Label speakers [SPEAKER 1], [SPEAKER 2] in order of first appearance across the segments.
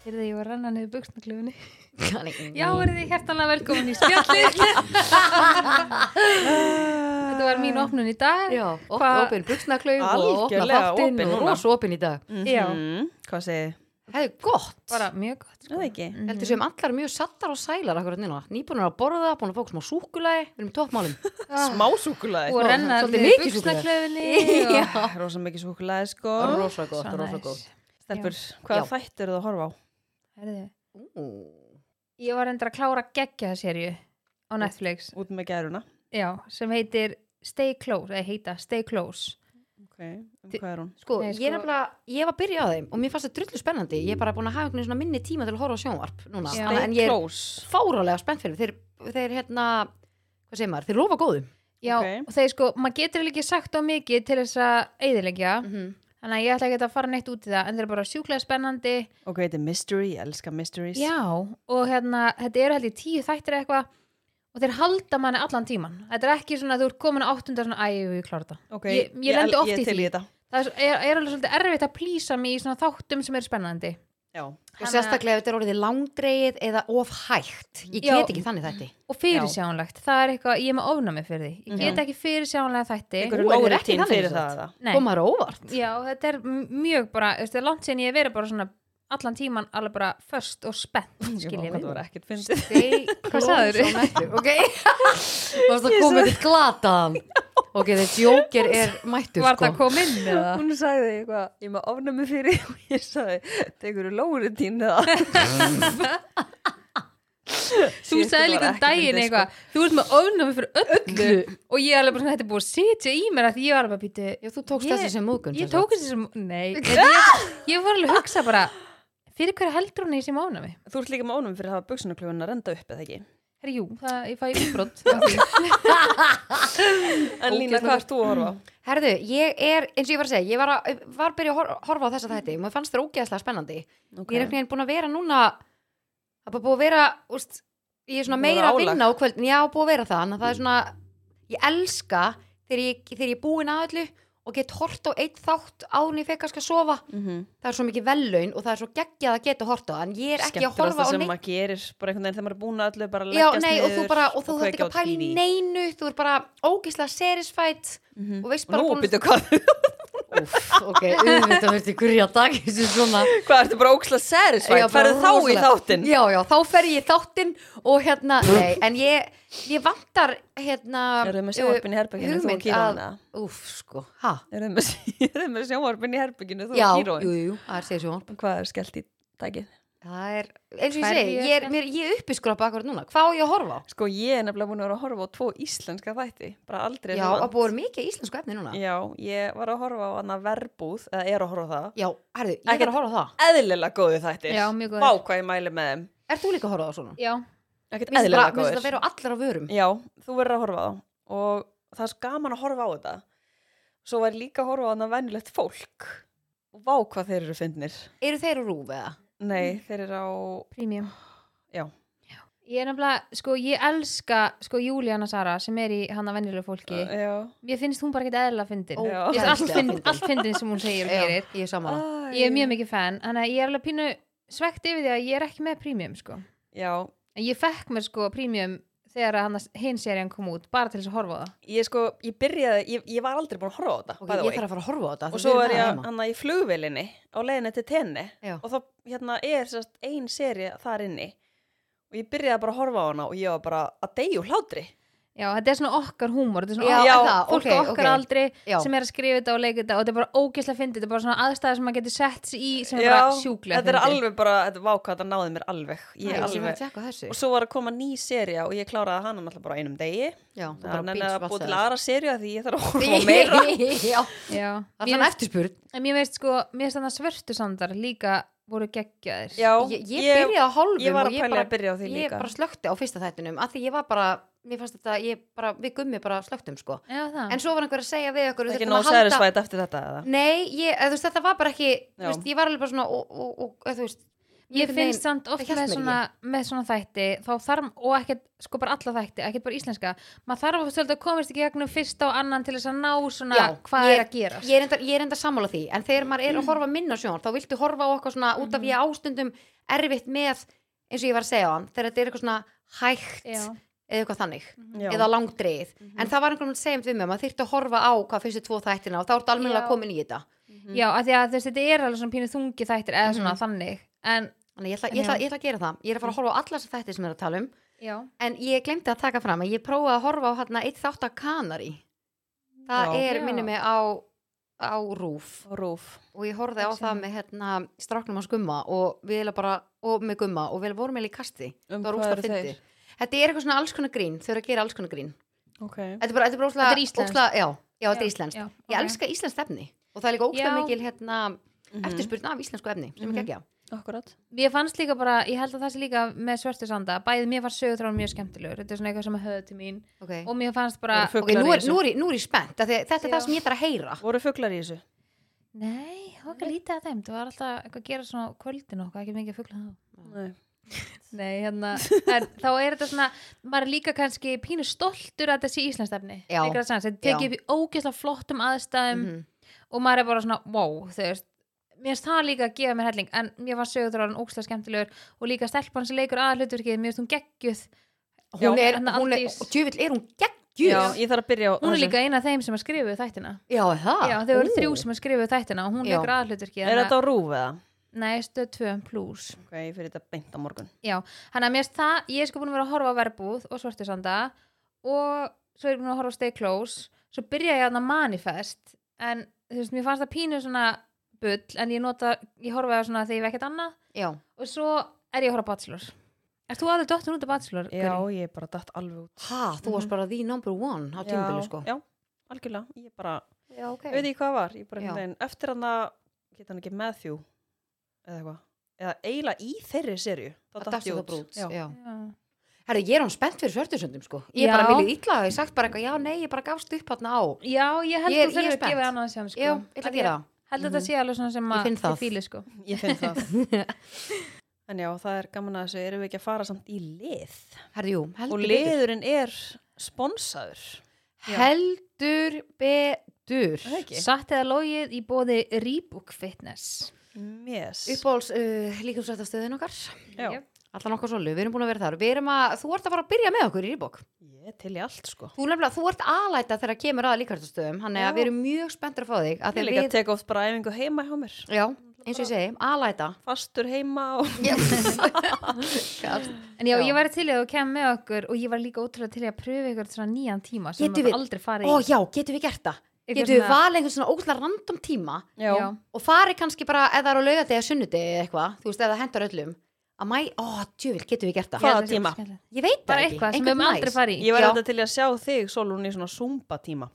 [SPEAKER 1] Heyrðu, ég var að renna niður buksnaklefunni. Já,
[SPEAKER 2] Já,
[SPEAKER 1] verið þið hjertanlega velkomin í spjallið. Þetta var mín opnun í dag.
[SPEAKER 2] já op,
[SPEAKER 1] Hva-
[SPEAKER 2] opin buksnaklaug og opna
[SPEAKER 3] Algjörlega
[SPEAKER 2] þáttinn
[SPEAKER 3] opin
[SPEAKER 2] og
[SPEAKER 3] núna.
[SPEAKER 2] rosa opin í dag.
[SPEAKER 1] Já.
[SPEAKER 3] Mhm. Hvað segið?
[SPEAKER 2] Það er gott.
[SPEAKER 1] Bara mjög gott. sko.
[SPEAKER 3] Það ekki.
[SPEAKER 2] Heldur sem allar mjög sattar og sælar akkurat núna. Nýbúinur að borða, búin að fá smá súkulagi, við erum í toppmálum.
[SPEAKER 3] Smá súkulæði.
[SPEAKER 1] Og að renna
[SPEAKER 2] Svolítið
[SPEAKER 1] niður
[SPEAKER 2] mikið súkkulaði.
[SPEAKER 1] buksnaklefunni.
[SPEAKER 3] Rósa mikið súkulæði sko.
[SPEAKER 2] Það er rosa gott,
[SPEAKER 1] Svo
[SPEAKER 2] rosa
[SPEAKER 1] næs.
[SPEAKER 2] gott.
[SPEAKER 3] Stelpur, hvaða
[SPEAKER 2] Já.
[SPEAKER 3] þætt eru það að horfa á?
[SPEAKER 1] Heyrðu,
[SPEAKER 2] Ú,
[SPEAKER 1] Ég var endur að klára geggja það serju á Netflix.
[SPEAKER 3] Út með gæruna.
[SPEAKER 1] Já, sem heitir Stay Close, eða heita Stay Close.
[SPEAKER 3] Ok, um hvað er hún?
[SPEAKER 2] Sko,
[SPEAKER 1] Nei,
[SPEAKER 2] ég
[SPEAKER 1] sko-
[SPEAKER 2] er nefnilega, ég var að byrja á þeim og mér fannst það drullu spennandi. Ég er bara búin að hafa einhvern veginn svona minni tíma til að horfa á sjónvarp núna.
[SPEAKER 1] Já.
[SPEAKER 2] Annað- En ég er
[SPEAKER 3] Close.
[SPEAKER 2] fárálega spennt fyrir. þeim. Þeir, þeir hérna, hvað segir maður, þeir lofa góðum.
[SPEAKER 1] Já,
[SPEAKER 3] Ok.
[SPEAKER 1] og þeir sko, maður getur eiginlega ekki sagt á mikið til þess að eiðilegja. Þannig að ég ætla ekki að fara neitt út í það, en þeir eru bara sjúklega spennandi.
[SPEAKER 3] Ok, þetta er mystery, ég elska mysteries.
[SPEAKER 1] Já, og hérna, þetta eru held ég tíu þættir eða eitthvað og þeir halda manni allan tíman. Þetta er ekki svona að þú ert komin á áttunda svona, æ, ég klára þetta.
[SPEAKER 3] Ok,
[SPEAKER 1] Ég- ég lendi oft í
[SPEAKER 3] Ég til
[SPEAKER 1] því.
[SPEAKER 3] í þetta.
[SPEAKER 1] Það er, svo- er, er alveg svolítið erfitt að plýsa mig í svona þáttum sem eru spennandi.
[SPEAKER 3] Já.
[SPEAKER 2] Og
[SPEAKER 1] Þannig að-
[SPEAKER 2] sérstaklega ef þetta er orðið langdreið eða of hægt. Ég
[SPEAKER 1] Já.
[SPEAKER 2] get ekki þannig þetta.
[SPEAKER 1] Og fyrirsjánlegt, það er eitthvað, ég er með ofnami fyrir því. Ég get
[SPEAKER 3] Mhm.
[SPEAKER 1] ekki fyrirsjánlega þætti.
[SPEAKER 3] Ykkur
[SPEAKER 2] Ú, þetta er
[SPEAKER 3] er
[SPEAKER 2] ekki
[SPEAKER 3] lóritín
[SPEAKER 2] þannig
[SPEAKER 3] fyrir
[SPEAKER 2] sem
[SPEAKER 3] það.
[SPEAKER 2] sagt.
[SPEAKER 3] eða?
[SPEAKER 1] Nei.
[SPEAKER 2] Komaður á óvart.
[SPEAKER 1] Já, þetta er m- mjög bara, þú veist, það er langt sinn ég hef verið bara svona allan tíman alveg bara först og spennt,
[SPEAKER 3] Ég
[SPEAKER 1] skiljið
[SPEAKER 3] veit.
[SPEAKER 1] við.
[SPEAKER 3] Það var ekkert fyndið.
[SPEAKER 1] Hvað sagðirðu?
[SPEAKER 2] Ok, varst að koma til glataðan. Ok, þessi jóker er mættur
[SPEAKER 1] Var
[SPEAKER 2] sko.
[SPEAKER 1] það kom inn eða?
[SPEAKER 3] Hún sagði eitthvað, ég er með ofnami fyrir og ég sagði, þetta er ykkur lóritín eða.
[SPEAKER 1] Þú
[SPEAKER 3] Shit, þetta
[SPEAKER 1] sagði
[SPEAKER 3] var
[SPEAKER 1] líka um
[SPEAKER 3] ekki
[SPEAKER 1] daginn
[SPEAKER 3] fyndið,
[SPEAKER 1] eitthvað, þú ert með ofnami fyrir öllu og ég er alveg bara svona, þetta er búið að sitja í mér að því ég var alveg bara býtu,
[SPEAKER 2] Já, þú tókst
[SPEAKER 1] Ég-
[SPEAKER 2] þessu sem múkun.
[SPEAKER 1] ég tók þessi sem, nei, ég, ég var alveg að hugsa bara, fyrir hverja heldur hún í sem ofnami?
[SPEAKER 3] sko. Þú ert líka með ofnami fyrir að hafa buksinaklöfun að renda upp eða ekki.
[SPEAKER 1] Herri, jú, það, ég fæ umbrott. af því.
[SPEAKER 3] En Lína, hvað ert þú að horfa á?
[SPEAKER 2] Herðu, ég er, eins og ég var að segja, ég var að, var að byrja að hor- horfa á þessa þætti og mér fannst þér ógeðslega spennandi. Ég er einhvern veginn búin að vera núna, það er bara búin að vera, úst, ég er svona
[SPEAKER 3] Búin að
[SPEAKER 2] meira að Mm.
[SPEAKER 3] vera álag.
[SPEAKER 2] vinna á kvöldin, já, búin að vera það, en það er svona, ég elska þegar ég, þegar ég er búin að öllu og get hort á eitt þátt án ég fekk kannski að sofa.
[SPEAKER 3] Mhm.
[SPEAKER 2] Það er svo mikið vellaun og það er svo geggjað að geta hort á, það, en ég er ekki að
[SPEAKER 3] Skemmtilegasta
[SPEAKER 2] horfa á
[SPEAKER 3] sem
[SPEAKER 2] neitt.
[SPEAKER 3] maður gerir, bara einhvern veginn þegar maður er búin að öllu bara að
[SPEAKER 2] Já,
[SPEAKER 3] leggjast
[SPEAKER 2] nei, og þú
[SPEAKER 3] niður
[SPEAKER 2] bara, og þú þarft
[SPEAKER 3] kveikja
[SPEAKER 2] ekki
[SPEAKER 3] á
[SPEAKER 2] að pæla í
[SPEAKER 3] TV.
[SPEAKER 2] neinu, þú er bara ógeðslega satisfied
[SPEAKER 3] Mhm.
[SPEAKER 2] og veist
[SPEAKER 3] Og
[SPEAKER 2] bara
[SPEAKER 3] nú,
[SPEAKER 2] búin
[SPEAKER 3] býttu, hvað,
[SPEAKER 2] Úff, ok, auðvitað verður hverja dag þessu svona
[SPEAKER 3] hvað ertu bara óksla
[SPEAKER 2] Já,
[SPEAKER 3] særisvægt?
[SPEAKER 2] bara
[SPEAKER 3] Færðu þá í
[SPEAKER 2] rosalega.
[SPEAKER 3] þáttinn?
[SPEAKER 2] Já, já, þá fer ég í þáttinn og hérna, nei, en ég, ég vantar hérna
[SPEAKER 3] Eru þið með
[SPEAKER 2] uh,
[SPEAKER 3] sjónvarpinn í herberginu, hérna, þú og
[SPEAKER 2] hugmynd
[SPEAKER 3] Kíron,
[SPEAKER 2] að-
[SPEAKER 3] eða?
[SPEAKER 2] Úff, sko, ha?
[SPEAKER 3] Eru þið með, eru þið með sjónvarpinn í herbygginu, þú
[SPEAKER 2] Já,
[SPEAKER 3] og
[SPEAKER 2] jú,
[SPEAKER 3] Kíróin?
[SPEAKER 2] jú, jú, það er segja sjónvarp
[SPEAKER 3] Hvað er skellt í dagið?
[SPEAKER 2] Það er, eins og
[SPEAKER 1] Hverju
[SPEAKER 2] ég segi, ég er,
[SPEAKER 3] hérna?
[SPEAKER 1] er-
[SPEAKER 2] mér, ég er uppiskrapa akkurat núna, hvað á ég að horfa á?
[SPEAKER 3] Sko, ég er nefnilega búin að vera að horfa á tvo íslenska þætti, bara aldrei
[SPEAKER 2] Já, að búið er mikið íslensku efni núna Já,
[SPEAKER 3] Já, ég var að horfa á hana verbúð, eða er að horfa á það.
[SPEAKER 2] herðu, ég
[SPEAKER 3] Ekkert-
[SPEAKER 2] þarf að horfa á það
[SPEAKER 3] Eðlilega góðu þættir.
[SPEAKER 1] Já, mjög góðir.
[SPEAKER 3] Vá, hvað ég mæli með þeim.
[SPEAKER 2] Ert þú líka að horfa á það svona?
[SPEAKER 1] Já,
[SPEAKER 2] Mér
[SPEAKER 3] Ekkert
[SPEAKER 2] finnst bara-
[SPEAKER 3] eðlilega
[SPEAKER 2] mér finnst
[SPEAKER 3] góður.
[SPEAKER 2] þetta að vera á allra vörum
[SPEAKER 3] Já, þú verður að horfa á það. Og það er svo gaman að horfa á þetta. Svo var ég líka að horfa á hana venjulegt fólk. Og vá, hvað þeir eru fyndnir.
[SPEAKER 2] Eru þeir á rúf eða?
[SPEAKER 3] Nei, þeir eru á...
[SPEAKER 1] premium.
[SPEAKER 3] Já.
[SPEAKER 1] Ég er nefnilega, sko, ég elska, sko, Júlíana Sara sem er í hann að venjulegu fólki.
[SPEAKER 3] Já.
[SPEAKER 1] Ég finnst hún bara ekki eðla fyndin.
[SPEAKER 2] Ó,
[SPEAKER 3] Já.
[SPEAKER 1] Ég finnst allt,
[SPEAKER 2] ógeðslega
[SPEAKER 1] fynd,
[SPEAKER 2] fyndin.
[SPEAKER 1] allt fyndin sem hún segir og
[SPEAKER 2] Já,
[SPEAKER 1] gerir.
[SPEAKER 2] ég er saman
[SPEAKER 1] Ég er mjög mikið fan, þannig að ég er alveg pínu svegt yfir því að ég er ekki með premium, sko.
[SPEAKER 3] Já,
[SPEAKER 1] En ég fekk mér, sko, premium þegar hann hinn serían kom út, bara til þess að horfa á það.
[SPEAKER 3] ég sko, ég byrjaði, ég, ég var aldrei búin að horfa á þetta.
[SPEAKER 2] Ok,
[SPEAKER 3] by the
[SPEAKER 2] ég
[SPEAKER 3] way.
[SPEAKER 2] þarf að fara að horfa á þetta
[SPEAKER 3] og svo er ég hann í flugvelinni á leiðinni til tenni
[SPEAKER 2] Já.
[SPEAKER 3] og þá hérna er sérst ein seri þar inni og ég byrjaði bara að horfa á hana og ég var bara að deyju hlátri
[SPEAKER 1] Já, þetta er svona okkar húmor, þetta er
[SPEAKER 2] Já,
[SPEAKER 1] svona
[SPEAKER 3] Já,
[SPEAKER 1] okkar,
[SPEAKER 2] er það,
[SPEAKER 1] fólk
[SPEAKER 2] ok,
[SPEAKER 1] á okkar
[SPEAKER 2] ok.
[SPEAKER 1] aldrei
[SPEAKER 2] Já.
[SPEAKER 1] sem er að skrifa þetta og leika þetta og þetta er bara ógeðslega fyndið, þetta er bara svona aðstæða sem maður getur sett sig í sem er bara sjúklega
[SPEAKER 3] þetta er alveg bara, þetta var hvað þetta náði mér alveg, ég
[SPEAKER 2] Ég alveg að
[SPEAKER 3] alveg.
[SPEAKER 2] tjekka þessu
[SPEAKER 3] og svo var að koma ný seri og ég kláraði hana náttúrulega bara á einum degi
[SPEAKER 2] Já, þú bara
[SPEAKER 3] þannig að búið til
[SPEAKER 2] binge-watchaðir.
[SPEAKER 3] aðra seri því ég þarf að horfa á meira
[SPEAKER 2] Já,
[SPEAKER 1] Já,
[SPEAKER 2] það er
[SPEAKER 1] mér
[SPEAKER 2] svona
[SPEAKER 1] veist,
[SPEAKER 2] eftirspurn
[SPEAKER 1] en mér veist sko, mér veist þannig að svörtu samdar líka voru geggjaðir.
[SPEAKER 3] Já,
[SPEAKER 2] Ég, ég byrjaði á hálfum
[SPEAKER 3] ég var
[SPEAKER 2] og
[SPEAKER 3] að pæla að byrja á því
[SPEAKER 2] Ég
[SPEAKER 3] líka
[SPEAKER 2] bara slökkti á fyrsta þættinum að því ég var bara, mér fannst þetta ég bara, við gummi bara slökktum sko
[SPEAKER 1] Já, það.
[SPEAKER 2] En svo var einhver að segja við okkur við
[SPEAKER 3] Það er ekki
[SPEAKER 2] þurfum
[SPEAKER 3] nóg
[SPEAKER 2] að halda-
[SPEAKER 3] særisvæt eftir þetta eða?
[SPEAKER 2] Nei, ég, eða þú veist, þetta var bara ekki, þú
[SPEAKER 3] Já.
[SPEAKER 2] veist, ég var alveg bara svona og, og, og eða þú veist,
[SPEAKER 1] ég finnst samt
[SPEAKER 2] það
[SPEAKER 1] oft
[SPEAKER 2] hélt
[SPEAKER 1] með
[SPEAKER 2] mér
[SPEAKER 1] svona, með svona þætti þá þarf, og ekkert, sko bara alla þætti ekkert bara íslenska, maður þarf að svolítið að komast í gegnum fyrsta og annan til þess að ná svona
[SPEAKER 2] Já,
[SPEAKER 1] hvað
[SPEAKER 2] ég-
[SPEAKER 1] er að gera
[SPEAKER 2] ég er enda, ég er enda sammála því en þegar maður
[SPEAKER 1] Mm.
[SPEAKER 2] er að horfa minna á sjón þá viltu horfa á okkar svona út af ég ástundum erfitt með eins og ég var að segja á hann þegar þetta er eitthvað svona hægt eða eitthvað þannig
[SPEAKER 1] Mm.
[SPEAKER 3] Já.
[SPEAKER 2] eða langdreið en það var einhvern veginn segjum við mig að maður þyrfti að horfa á hvað fyrstu tvo þættina og þá ertu almennilega
[SPEAKER 1] Já.
[SPEAKER 2] komin í þetta
[SPEAKER 1] já, af því að þess, þetta er alveg svona pínu þungi þættir eða svona
[SPEAKER 2] Mm.
[SPEAKER 1] þannig, en
[SPEAKER 2] þannig ég ætla, ég,
[SPEAKER 1] En
[SPEAKER 2] ætla,
[SPEAKER 1] já. Mm.
[SPEAKER 2] ég ætla að gera það ég er að fara að horfa á alla þessa þætti sem ég er að tala um
[SPEAKER 1] já,
[SPEAKER 2] en ég glemdi að taka fram að ég prófaði að horfa á hérna eitt þátt að kanari það
[SPEAKER 3] Já.
[SPEAKER 2] er
[SPEAKER 1] Já.
[SPEAKER 2] minni mig á, á rúf
[SPEAKER 3] Rúf.
[SPEAKER 2] og ég horfði á
[SPEAKER 1] Ekki
[SPEAKER 2] það
[SPEAKER 1] sem-
[SPEAKER 2] með hérna stráknum hans gumma og við erum bara og með gumma og við vorum eða í kasti
[SPEAKER 3] Um
[SPEAKER 2] það var
[SPEAKER 3] hvað
[SPEAKER 2] úsla
[SPEAKER 3] eru
[SPEAKER 2] fyndi
[SPEAKER 3] þeir?
[SPEAKER 2] þetta er eitthvað svona alls konar grín, þau eru að gera alls konar grín
[SPEAKER 3] Ok.
[SPEAKER 2] þetta er bara, þetta er bara úsla,
[SPEAKER 1] Þetta er íslenskt.
[SPEAKER 2] úsla, já, já, þetta er íslenskt
[SPEAKER 1] já,
[SPEAKER 2] ég elska íslenskt efni og það er líka ósla
[SPEAKER 1] Já.
[SPEAKER 2] mikil hérna,
[SPEAKER 3] Mm
[SPEAKER 2] eftirspurn af íslensku efni sem
[SPEAKER 3] Mhm.
[SPEAKER 2] er geggja
[SPEAKER 3] Akkurat.
[SPEAKER 1] ég fannst líka bara, ég held að það sé líka með svörtu sanda, bæðið mér fannst sögutráðan mjög skemmtilegur, þetta er svona eitthvað sem að höfða til mín
[SPEAKER 2] okay.
[SPEAKER 1] og mér fannst bara,
[SPEAKER 3] Voru fugl-
[SPEAKER 2] ok, nú
[SPEAKER 3] fuglar í
[SPEAKER 2] er,
[SPEAKER 3] þessu.
[SPEAKER 2] nú, er, ég- nú er ég spennt af því að þetta er
[SPEAKER 1] Já.
[SPEAKER 2] það sem ég þarf að heyra
[SPEAKER 3] Voru fuglar í þessu?
[SPEAKER 1] nei, það var ekki lítið að þeim það var alltaf eitthvað að gera svona á kvöldin og eitthvað, ekki mikið að fugla þá
[SPEAKER 3] Nei.
[SPEAKER 1] Nei, hérna, en þá er þetta svona maður er líka kannski pínu stoltur að þetta sé íslenskstefni
[SPEAKER 2] Já.
[SPEAKER 1] þetta
[SPEAKER 2] Já.
[SPEAKER 1] tekið upp í ógeðslega flottum aðstæðum
[SPEAKER 2] Mhm.
[SPEAKER 1] og maður er bara svona, wow þú veist, mér finnst það líka að gefa mér helling en mér var sögurþráðan ógeðslega skemmtilegur og líka stelpan sem leikur aðhlutverkið mér finnst hún geggjuð,
[SPEAKER 2] hún
[SPEAKER 1] Já,
[SPEAKER 2] er,
[SPEAKER 1] hérna
[SPEAKER 2] hún er,
[SPEAKER 1] Aldís.
[SPEAKER 2] djövill er hún
[SPEAKER 3] Já,
[SPEAKER 2] geggjur
[SPEAKER 3] ég þarf að byrja á
[SPEAKER 1] hún er
[SPEAKER 3] þessu.
[SPEAKER 1] líka eina af þeim sem að skrifu þættina
[SPEAKER 2] já, er það
[SPEAKER 1] já, þau eru
[SPEAKER 2] Ah, Ú.
[SPEAKER 1] þrjú sem að skrifu þættina og hún
[SPEAKER 2] Já.
[SPEAKER 1] leikur aðhlutverkið
[SPEAKER 3] Er þetta á rúf eða?
[SPEAKER 1] Nei, stöð 2 plus
[SPEAKER 3] Ok, ég fyrir þetta beint á morgun.
[SPEAKER 1] Já, hann að mér finnst það, ég er sko búin að vera að horfa á verbúð og svartisanda og svo er ég búin að horfa á Stay Close svo byrja ég að manifest en þú veist, mér fannst það pínu svona bull, en ég nota, ég horfa á svona þegar ég vekkert annað
[SPEAKER 2] já,
[SPEAKER 1] og svo er ég að horfa á Bachelor Ert þú alveg dottur út af Bachelor?
[SPEAKER 3] Já, ég er bara datt alveg út.
[SPEAKER 2] ha, þú varst bara the number one á tímabili sko
[SPEAKER 3] Mhm. Já, algjörlega. Ég bara,
[SPEAKER 2] já, ok
[SPEAKER 3] okay. veit ég hvað var. Ég bara,
[SPEAKER 2] Já.
[SPEAKER 3] nein, eftir hann að, geta hann ekki Matthew eða eitthvað. Eða eiginlega í þeirri serju.
[SPEAKER 2] Datt
[SPEAKER 3] Þá datt ég
[SPEAKER 2] of the
[SPEAKER 3] út.
[SPEAKER 2] Brutes,
[SPEAKER 3] Já.
[SPEAKER 2] já.
[SPEAKER 1] Guri?
[SPEAKER 2] Herri, ég er hún spennt fyrir svörtursöndum sko Ég er
[SPEAKER 1] Já.
[SPEAKER 2] bara viljið illa að ég sagt bara eitthvað Já, nei, ég bara gafst upp hann á
[SPEAKER 1] Já, ég held
[SPEAKER 2] Ég er-
[SPEAKER 1] þú þurfum
[SPEAKER 2] ég er
[SPEAKER 1] að gefa
[SPEAKER 2] spennt.
[SPEAKER 1] annað sem sko. Mhm.
[SPEAKER 2] Já, ég ætla
[SPEAKER 1] Af
[SPEAKER 2] að
[SPEAKER 1] því
[SPEAKER 2] gera
[SPEAKER 1] Held að þetta sé alveg svona sem
[SPEAKER 2] Ég
[SPEAKER 1] að
[SPEAKER 2] finn það.
[SPEAKER 1] fíli sko
[SPEAKER 3] Ég finn það.
[SPEAKER 2] það
[SPEAKER 3] En já, það er gaman að þessu, erum við ekki að fara samt í lið.
[SPEAKER 2] Herri, jú,
[SPEAKER 3] Og
[SPEAKER 2] heldur betur
[SPEAKER 3] liðurinn er sponsaður.
[SPEAKER 2] Heldur betur
[SPEAKER 3] Er það ekki?
[SPEAKER 1] Satt eða logið í bóði Rebook Fitness
[SPEAKER 3] Yes.
[SPEAKER 2] Uppbóls uh, líkumsrættastöðin okkar
[SPEAKER 3] Já.
[SPEAKER 1] Jep.
[SPEAKER 2] Allan okkar solu, við erum búin að vera þar Við erum að, þú ert að fara að byrja með okkur í rýbók
[SPEAKER 3] Ég er til í allt, sko.
[SPEAKER 2] Þú nefnilega, þú ert aðlæta þegar kemur að líkumsrættastöðum Þannig
[SPEAKER 3] Já.
[SPEAKER 2] að við erum mjög spenntur að fá þig að
[SPEAKER 3] Ég
[SPEAKER 2] að
[SPEAKER 3] líka
[SPEAKER 2] við,
[SPEAKER 3] að teka oft bara æfingu heima hjá mér.
[SPEAKER 2] Já, eins og ég segi, aðlæta
[SPEAKER 3] Fastur heima og...
[SPEAKER 1] En já,
[SPEAKER 2] Já.
[SPEAKER 1] ég væri til í að þú kem með okkur og ég var líka ótrúlega til í að pröfu ykkur svona nýjan tíma sem
[SPEAKER 2] Getum
[SPEAKER 1] maður
[SPEAKER 2] við-
[SPEAKER 1] aldrei farið
[SPEAKER 2] Ó já, getum við gert það?
[SPEAKER 1] Einhver
[SPEAKER 2] Getum við
[SPEAKER 1] svona-
[SPEAKER 2] valið einhvern svona ógla random tíma
[SPEAKER 1] Já.
[SPEAKER 2] og farið kannski bara eða það er á laugardegi eða sunnudegi eða eitthvað, þú veist, eða hendur öllum að mæ, ó, djövill, getum við gert
[SPEAKER 1] Ég
[SPEAKER 2] það?
[SPEAKER 3] Hvaða
[SPEAKER 1] held að sé
[SPEAKER 3] tíma?
[SPEAKER 1] bara skemmtilegt.
[SPEAKER 2] Ég veit það
[SPEAKER 1] Bara
[SPEAKER 2] ekki,
[SPEAKER 1] eitthvað sem við höfum aldrei farið í
[SPEAKER 3] Ég var
[SPEAKER 2] Já.
[SPEAKER 3] þetta til í að sjá þig, Solun, í svona zumba tíma.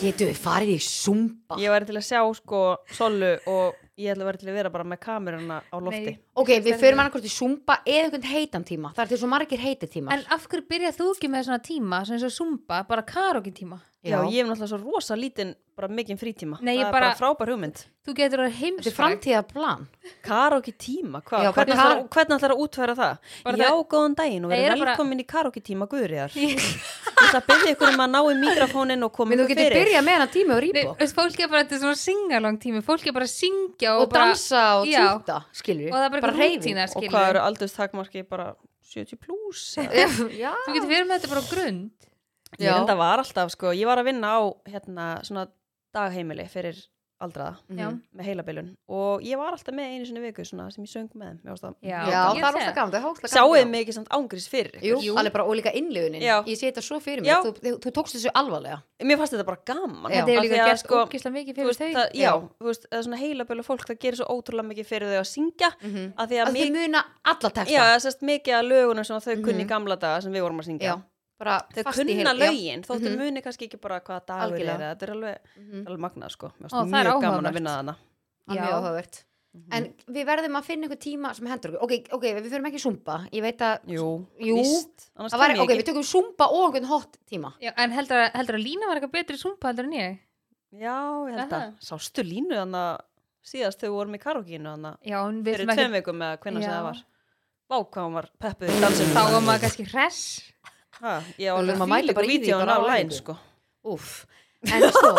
[SPEAKER 2] Getum við farið í sumba?
[SPEAKER 3] Ég var til að sjá, sko, Solu og ég ætla að vera til að vera bara með kameruna á lofti.
[SPEAKER 1] Nei.
[SPEAKER 2] Ok, við förum annarkvort í sumba eða einhvern heitan tíma, það er til svo margir heiti tíma.
[SPEAKER 1] En af hverju byrjað þú ekki með svona tíma svona eins og Zumba, bara karaoke tíma
[SPEAKER 3] Já, ég hef náttúrulega svo rosa lítinn, bara mikinn frítíma.
[SPEAKER 1] Nei, ég
[SPEAKER 3] það
[SPEAKER 1] bara-
[SPEAKER 3] er bara frábær hugmynd.
[SPEAKER 1] Þú getur að
[SPEAKER 2] Þetta er
[SPEAKER 1] heimsfræk
[SPEAKER 2] framtíða plan.
[SPEAKER 3] Karaoke tíma, hvað?
[SPEAKER 2] Já, bara
[SPEAKER 3] Hvernig, ætlar,
[SPEAKER 2] kar-
[SPEAKER 3] hvernig ætlar að útfæra það?
[SPEAKER 1] Bara
[SPEAKER 3] Já,
[SPEAKER 1] það-
[SPEAKER 3] góðan daginn og
[SPEAKER 1] Nei,
[SPEAKER 3] verið
[SPEAKER 1] ég er bara-
[SPEAKER 3] velkomin í karaoke tíma guðriðar. Ég ætla að byrja ykkur um að ná í mikrofónin og koma
[SPEAKER 2] Menn þú
[SPEAKER 3] ykkur
[SPEAKER 2] getur
[SPEAKER 3] fyrir.
[SPEAKER 2] byrjað með hennar tíma og
[SPEAKER 1] Nei,
[SPEAKER 2] rýbók
[SPEAKER 1] veist, Fólk er bara, þetta er svona singalong tími Fólk er bara að syngja og,
[SPEAKER 2] og
[SPEAKER 1] bara,
[SPEAKER 2] dansa og
[SPEAKER 1] Já.
[SPEAKER 2] tjúta, skilur
[SPEAKER 1] Og það er bara
[SPEAKER 2] bara
[SPEAKER 1] eitthvað rútína,
[SPEAKER 2] hreyfing.
[SPEAKER 1] skilur
[SPEAKER 3] Og hvað eru aldurstakmarki bara 70 pluss? eða?
[SPEAKER 2] Já,
[SPEAKER 1] Þú getur verið með þetta bara á grund
[SPEAKER 3] Ég
[SPEAKER 2] Já.
[SPEAKER 3] enda var alltaf, sko, ég var að vinna á hérna, svona dagheimili fyrir aldraða
[SPEAKER 1] Já,
[SPEAKER 2] Mhm.
[SPEAKER 3] með heilabilun og ég var alltaf með einu sinni í viku svona, sem ég söng með þeim, ég varst að-
[SPEAKER 1] Já.
[SPEAKER 2] Já,
[SPEAKER 1] Ég
[SPEAKER 2] það er
[SPEAKER 1] sé.
[SPEAKER 2] óslega gaman, það er óslega gaman.
[SPEAKER 3] Sjáið
[SPEAKER 2] já.
[SPEAKER 3] mig ekki samt ángriðs fyrir ykkur.
[SPEAKER 2] Jú,
[SPEAKER 1] Jú.
[SPEAKER 2] alveg bara ólíka innlifunin
[SPEAKER 3] Já.
[SPEAKER 2] Ég sé þetta svo fyrir
[SPEAKER 3] Já.
[SPEAKER 2] mig, þú, þú, þú tókst þessu alvarlega
[SPEAKER 3] Mér fannst þetta bara gaman
[SPEAKER 2] Já.
[SPEAKER 1] Þetta
[SPEAKER 3] Af
[SPEAKER 1] er líka
[SPEAKER 3] því að,
[SPEAKER 1] gert
[SPEAKER 3] sko,
[SPEAKER 1] ógislega mikið
[SPEAKER 3] þú
[SPEAKER 1] fyrir
[SPEAKER 3] veist,
[SPEAKER 1] þau
[SPEAKER 3] það, já,
[SPEAKER 2] Já.
[SPEAKER 3] þú veist, það er svona heilabölu fólk það gerir svo ótrúlega mikið fyrir þau að syngja
[SPEAKER 2] mm
[SPEAKER 1] Mhm.
[SPEAKER 2] -hmm.
[SPEAKER 3] að því
[SPEAKER 2] að
[SPEAKER 3] að,
[SPEAKER 2] þið
[SPEAKER 3] mikið,
[SPEAKER 2] muna alla texta
[SPEAKER 3] já, sérst, mikið að lögunum sem að þau kunni
[SPEAKER 2] Mhm.
[SPEAKER 3] í gamla daga sem við vorum að syngja
[SPEAKER 2] Já, bara
[SPEAKER 3] þau
[SPEAKER 2] fast í
[SPEAKER 3] kunna
[SPEAKER 2] heil-
[SPEAKER 3] lögin, þóttu
[SPEAKER 2] Mhm.
[SPEAKER 3] muni kannski ekki bara hvaða dagur
[SPEAKER 2] Algjörlega.
[SPEAKER 3] er eða þetta er alveg,
[SPEAKER 2] já. Mhm.
[SPEAKER 3] alveg magnað sko, Mér fannst
[SPEAKER 1] Ó, það er
[SPEAKER 3] mjög gaman
[SPEAKER 1] áhugavert.
[SPEAKER 3] að vinna þarna
[SPEAKER 2] Það er
[SPEAKER 1] Já.
[SPEAKER 2] mjög áhugavert
[SPEAKER 3] Mhm.
[SPEAKER 2] en við verðum að finna einhver tíma sem hendur okkur ok, ok, við förum ekki sumba ég veit að
[SPEAKER 3] Jú,
[SPEAKER 2] Jú.
[SPEAKER 3] víst, annars
[SPEAKER 2] það var,
[SPEAKER 3] kem ég
[SPEAKER 2] ok,
[SPEAKER 3] ekki
[SPEAKER 2] við tökum sumba og einhvern hot tíma
[SPEAKER 1] Já, En heldur að, heldur að Lína var eitthvað betri í Zumba heldur en ég
[SPEAKER 3] Já, ég held
[SPEAKER 1] Aha.
[SPEAKER 3] að, sástu línu þannig að síðast þegar við vorum í karokínu þannig
[SPEAKER 1] já, en við
[SPEAKER 3] fyrir
[SPEAKER 1] erum ekki
[SPEAKER 3] tveim vikum með hvernig sem
[SPEAKER 1] Já.
[SPEAKER 3] það var Vá, hvað hún var peppuð í dansin
[SPEAKER 1] þá var maður kannski hress
[SPEAKER 3] ha, Ég var
[SPEAKER 2] Maður
[SPEAKER 3] alveg
[SPEAKER 2] mætir
[SPEAKER 3] fílig
[SPEAKER 2] bara
[SPEAKER 3] og
[SPEAKER 2] í því,
[SPEAKER 3] vídeo hann
[SPEAKER 2] bara á
[SPEAKER 3] álæn
[SPEAKER 2] æfingu.
[SPEAKER 3] sko.
[SPEAKER 2] Úff, en sko,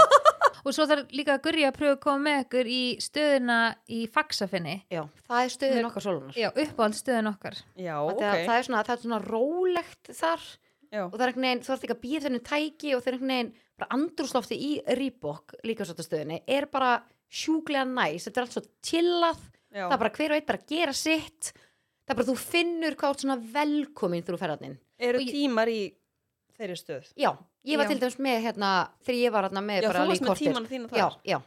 [SPEAKER 1] og svo þarf líka að gurja að pröfa að koma með ykkur í stöðuna í faxafinni
[SPEAKER 2] já, það er
[SPEAKER 1] Mér-
[SPEAKER 2] stöðin okkar sólunar.
[SPEAKER 1] já, uppáhald stöðun okkar
[SPEAKER 3] Já,
[SPEAKER 2] Af
[SPEAKER 3] ok
[SPEAKER 2] því að það, er svona, það er svona rólegt þar
[SPEAKER 3] Já.
[SPEAKER 2] og það er einhvern veginn, þú ert ekki að býða þennu tæki og það er einhvern veginn, bara andrúslofti í Reebok líka svolítið stöðinni er bara sjúklega næs, þetta er allt svo chillað,
[SPEAKER 3] Já.
[SPEAKER 2] það er bara hver og einn bara að gera sitt, það er bara þú finnur hvað átt svona velkomin þú ferðarninn.
[SPEAKER 3] Eru
[SPEAKER 1] og ég-
[SPEAKER 3] tímar í þeirri stöð
[SPEAKER 2] Já, ég var
[SPEAKER 1] Já.
[SPEAKER 2] til dæmis með hérna, þegar ég var hérna með
[SPEAKER 3] Já, þú
[SPEAKER 2] bara alveg
[SPEAKER 3] varst
[SPEAKER 2] í
[SPEAKER 3] með
[SPEAKER 2] kortir.
[SPEAKER 3] tíman þína
[SPEAKER 2] Já,
[SPEAKER 3] þar
[SPEAKER 2] já,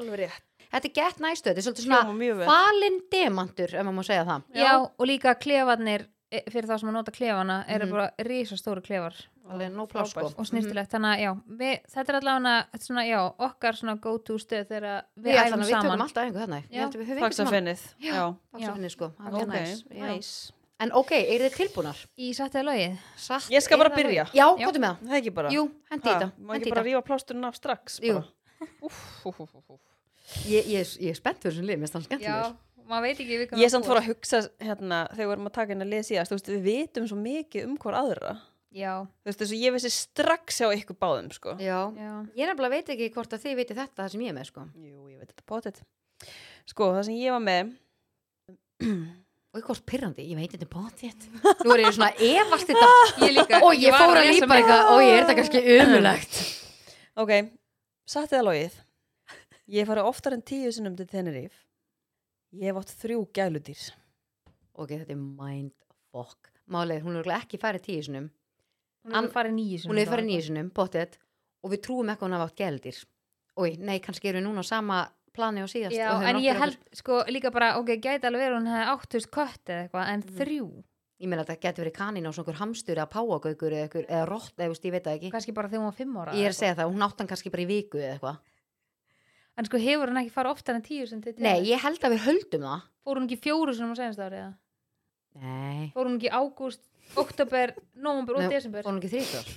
[SPEAKER 3] Alveg rétt,
[SPEAKER 2] þetta er gett næstöð, þetta er svolítið svona
[SPEAKER 3] hljóma mjög vel
[SPEAKER 2] falinn demantur, ef maður má segja það.
[SPEAKER 1] já. og líka klefarnir e, fyrir þá sem að nota klefana eru
[SPEAKER 2] Mhm.
[SPEAKER 1] bara risastóru klefar
[SPEAKER 2] Alveg nóg pláss, sko.
[SPEAKER 3] Frábært.
[SPEAKER 1] og snirtilegt, þannig að já við, þetta er allavega þetta er svona, já, okkar svona go to stöð þegar að við
[SPEAKER 2] Já,
[SPEAKER 1] æfum
[SPEAKER 2] þannig að við tökum
[SPEAKER 1] saman
[SPEAKER 2] alltaf einhver þarna. Ég
[SPEAKER 1] Já,
[SPEAKER 2] held að við höfum einhvern tímann-
[SPEAKER 3] Faxafinnið
[SPEAKER 2] Já.
[SPEAKER 3] Já,
[SPEAKER 2] Faxafinni, sko. Það er
[SPEAKER 3] ok,
[SPEAKER 2] næs, já.
[SPEAKER 3] næs
[SPEAKER 2] En ok, eru þið tilbúnar?
[SPEAKER 1] í sattið logið
[SPEAKER 2] Satt
[SPEAKER 3] Ég skal bara
[SPEAKER 2] er það-
[SPEAKER 3] byrja.
[SPEAKER 2] Já,
[SPEAKER 1] Já.
[SPEAKER 2] hvað er með það?
[SPEAKER 3] Það ekki bara
[SPEAKER 2] Jú, hendi í
[SPEAKER 3] Ha,
[SPEAKER 2] þetta.
[SPEAKER 3] Má
[SPEAKER 2] hendi
[SPEAKER 3] ekki
[SPEAKER 2] í
[SPEAKER 3] bara
[SPEAKER 2] þetta.
[SPEAKER 3] rífa plásturinn af strax
[SPEAKER 2] Jú.
[SPEAKER 3] bara? Úff, úff, úff, úff, úff.
[SPEAKER 2] Ég, ég, er- ég er spennt fyrir þessum lið, mér er stann
[SPEAKER 1] já,
[SPEAKER 2] skemmtilegur.
[SPEAKER 1] maður veit ekki við hvað
[SPEAKER 3] Ég er
[SPEAKER 1] maður
[SPEAKER 3] samt
[SPEAKER 1] búist.
[SPEAKER 3] fór að hugsa hérna, þegar við erum að taka hérna að lesa í það Við vitum svo mikið um hver aðra
[SPEAKER 1] já,
[SPEAKER 3] Þú veist, þess að ég vissi strax á ykkur báðum sko.
[SPEAKER 2] Já.
[SPEAKER 1] já,
[SPEAKER 2] Ég nefnilega veit ekki hvort að þið veitir þetta það sem ég er með, sko.
[SPEAKER 3] Jú, ég veit þetta bótið. Sko, það sem ég var með,
[SPEAKER 2] Og eitthvað spyrrandi, ég veit þetta bóttið. Nú er ég svona að efast þetta.
[SPEAKER 1] ég líka
[SPEAKER 2] Og ég
[SPEAKER 1] var
[SPEAKER 2] fór að
[SPEAKER 1] lesa
[SPEAKER 2] lípa
[SPEAKER 1] mig.
[SPEAKER 2] eitthvað, og ég er þetta kannski umulegt.
[SPEAKER 3] ok, satt eða logið. Ég hef farið oftar en tíu sinnum til Teneríf. Ég hef átt þrjú gæludýr.
[SPEAKER 2] Ok, þetta er mindfuck. Málið, hún er örugglega ekki farið tíu sinum.
[SPEAKER 1] hún er farið nýju
[SPEAKER 2] Hún hefur farið nýju sinum, bóttið, og við trúum ekki að hún hafa átt gældir. Ói, nei, kannski eru við núna á sama plani og síðast.
[SPEAKER 1] Já,
[SPEAKER 2] og höfum
[SPEAKER 1] en
[SPEAKER 2] átt
[SPEAKER 1] ég
[SPEAKER 2] okkur-
[SPEAKER 1] held sko líka bara, ok, gæti alveg verið að hún hefði áttust kött eða eitthvað,
[SPEAKER 2] Mm.
[SPEAKER 1] en þrjú
[SPEAKER 2] ég meina að það getur verið kanín á svona einhver hamstur eða páagaukur eða, einhver- eða rott eða þú veist, ég veit það ekki
[SPEAKER 1] kannski bara þegar hún var fimm ára
[SPEAKER 2] ég
[SPEAKER 1] eða
[SPEAKER 2] er að segja það, hún átti hann kannski bara í viku eða eitthvað
[SPEAKER 1] eitthvað. en sko hefur hún ekki farið oftar en tíu sem til
[SPEAKER 2] nei, ég held að við höldum það
[SPEAKER 1] fór hún ekki fjóru sem hún senast árið eða?
[SPEAKER 2] nei,
[SPEAKER 1] fór hún ekki í ágúst, oktober nómumber og
[SPEAKER 2] Nei,
[SPEAKER 1] desember
[SPEAKER 2] og hún ekki þrítur æ,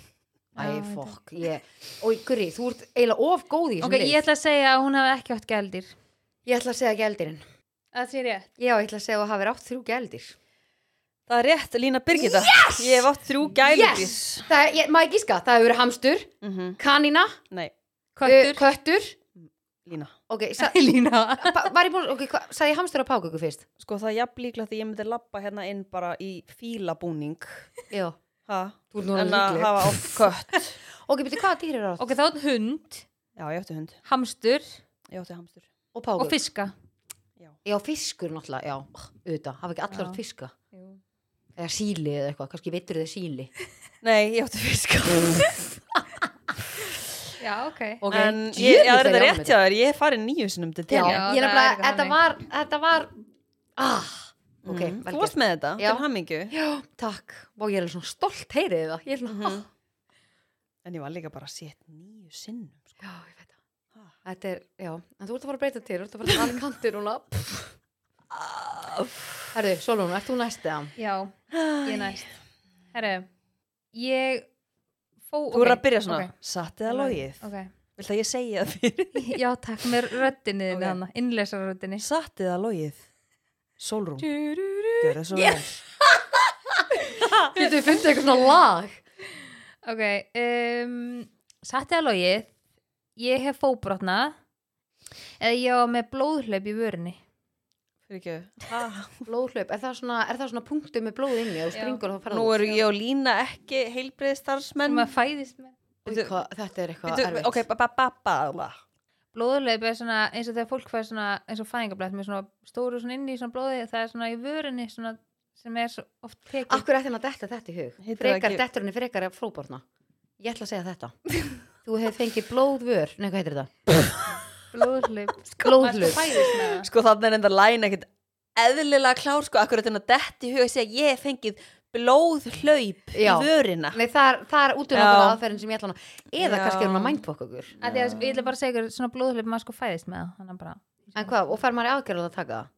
[SPEAKER 1] Já, ég
[SPEAKER 2] fokk, ég og guri, þú ert eiginlega of góð í þessum
[SPEAKER 1] ok, ég ætla að segja að hún hefði ekki átt gældir
[SPEAKER 2] ég ætla að segja gældirinn
[SPEAKER 1] það sé rétt
[SPEAKER 2] já, ég ætla að segja að þú hafið átt þrjú gældir
[SPEAKER 3] Það er rétt, Lína Birgitta. Yes! Ég hef átt þrjú gæludýr.
[SPEAKER 2] yes, það, er- ég, maður gíska, það hefur verið hamstur
[SPEAKER 3] Mhm.
[SPEAKER 2] kanína,
[SPEAKER 3] Nei,
[SPEAKER 2] köttur,
[SPEAKER 1] köttur,
[SPEAKER 2] köttur.
[SPEAKER 3] Lína.
[SPEAKER 2] ok, sa,
[SPEAKER 1] Lína
[SPEAKER 2] pa, var ég búin, ok, hva, sagði ég hamstur á páagauku fyrst
[SPEAKER 3] Sko, það er jafn líklegt að ég myndi lappa hérna inn bara í fílabúning.
[SPEAKER 2] já,
[SPEAKER 3] Ha?
[SPEAKER 2] þú ert nú
[SPEAKER 3] En að
[SPEAKER 2] líkleg
[SPEAKER 3] hafa átt kött.
[SPEAKER 2] ok, betur hvað dýr er átt
[SPEAKER 1] ok, þá er hund,
[SPEAKER 3] Já, ég átti hund.
[SPEAKER 1] hamstur
[SPEAKER 3] Ég átti hamstur.
[SPEAKER 2] og páagauk
[SPEAKER 1] og fiska
[SPEAKER 2] Já, fiskur náttúrulega, já, auðvitað, hafa ekki allar
[SPEAKER 1] Já.
[SPEAKER 2] átt fiska
[SPEAKER 1] Jú.
[SPEAKER 2] eða síli eða eitthvað, kannski veitur þið síli
[SPEAKER 3] Nei, ég átti fiska.
[SPEAKER 1] já, ok
[SPEAKER 2] Ok,
[SPEAKER 3] En ég,
[SPEAKER 2] djöfull ég
[SPEAKER 3] ég, það er þetta
[SPEAKER 2] ánægð
[SPEAKER 3] rétt hjá þér. Ég hef farið níu sinnum til
[SPEAKER 2] Já,
[SPEAKER 3] Teneríf.
[SPEAKER 1] Já, það
[SPEAKER 2] ég
[SPEAKER 1] er
[SPEAKER 2] nefnilega,
[SPEAKER 1] eitthvað
[SPEAKER 2] þetta
[SPEAKER 1] þannig.
[SPEAKER 2] var, þetta var, ah, ok,
[SPEAKER 3] Mhm.
[SPEAKER 2] vel
[SPEAKER 3] Þú varst
[SPEAKER 2] gert,
[SPEAKER 3] með þetta,
[SPEAKER 2] Já.
[SPEAKER 3] til hammingju
[SPEAKER 2] já, takk, og ég er alveg svona stolt heyrið það, ég er svona, mm
[SPEAKER 3] Mhm. En ég var líka bara sett nýju sinnum sko.
[SPEAKER 2] já, ég veit það, þetta er, já, en þú ert að fara að breyta til, þú ert að fara að tala kantir núna, herðu, Solon, ert þú næst eða?
[SPEAKER 1] já, ég er næst herru, ég fó,
[SPEAKER 3] Þú eru að byrja svona
[SPEAKER 1] ok.
[SPEAKER 3] Satt eða logið
[SPEAKER 1] ok
[SPEAKER 3] Vilt að ég segja það fyrir
[SPEAKER 1] Já, takk með röddinni þinni
[SPEAKER 3] Ok.
[SPEAKER 1] hann, innlesarröddinni.
[SPEAKER 3] Satt eða logið Solrún
[SPEAKER 1] Ok,
[SPEAKER 3] Gjör það svo vel
[SPEAKER 2] Getur þið fundið eitthvað svona lag?
[SPEAKER 1] um, satt eða logið, ég hef fóbrotna eða ég var með blóðhlaup í vörinni.
[SPEAKER 3] Fyrir ekki Ha?
[SPEAKER 2] Blóðhlaup, er það svona, er það svona punktu með blóð inni og
[SPEAKER 1] Já.
[SPEAKER 2] springur og þá ferða
[SPEAKER 3] Nú eru ég og Lína ekki
[SPEAKER 1] En
[SPEAKER 3] heilbreiðstarfsmenn
[SPEAKER 1] maður fæðist með.
[SPEAKER 3] Bíddu,
[SPEAKER 2] Þetta er eitthvað
[SPEAKER 3] bíddu,
[SPEAKER 2] erfitt
[SPEAKER 3] Ok, ba- ba- ba- ba- ba.
[SPEAKER 1] Blóðhlaup er svona eins og þegar fólk fæði svona eins og fæðingablætt með svona stóru svona inni í svona blóði það er svona í vörinni svona sem er svo oft tekið.
[SPEAKER 2] Akkur ætti hann að detta þetta í hug?
[SPEAKER 3] Heitir það
[SPEAKER 2] Frekar
[SPEAKER 3] ekki-
[SPEAKER 2] dettur henni frekar að fróborna Ég ætla að segja þetta Þú hefur fengið blóðvör Nei, hvað heitir þetta?
[SPEAKER 1] Blóðhlaup. Maður sko
[SPEAKER 2] Blóðhlaup
[SPEAKER 1] fæðist með það.
[SPEAKER 3] Sko þarna er enda læn ekkert eðlilega klár sko Akkur þetta dett í huga að segja Ég hef fengið blóðhlaup í
[SPEAKER 2] Já.
[SPEAKER 3] vörina
[SPEAKER 2] Nei, það er, það er út um
[SPEAKER 3] Já.
[SPEAKER 2] okkur aðferðin sem ég ætla hann Eða
[SPEAKER 3] Já.
[SPEAKER 2] kannski er hún að mindfokk okkur
[SPEAKER 1] Af því að Ég ætla bara að segja ykkur svona blóðhlaup maður sko fæðist með það. Þannig að bara,
[SPEAKER 2] En hvað, og fær maður í aðgerð að taka það?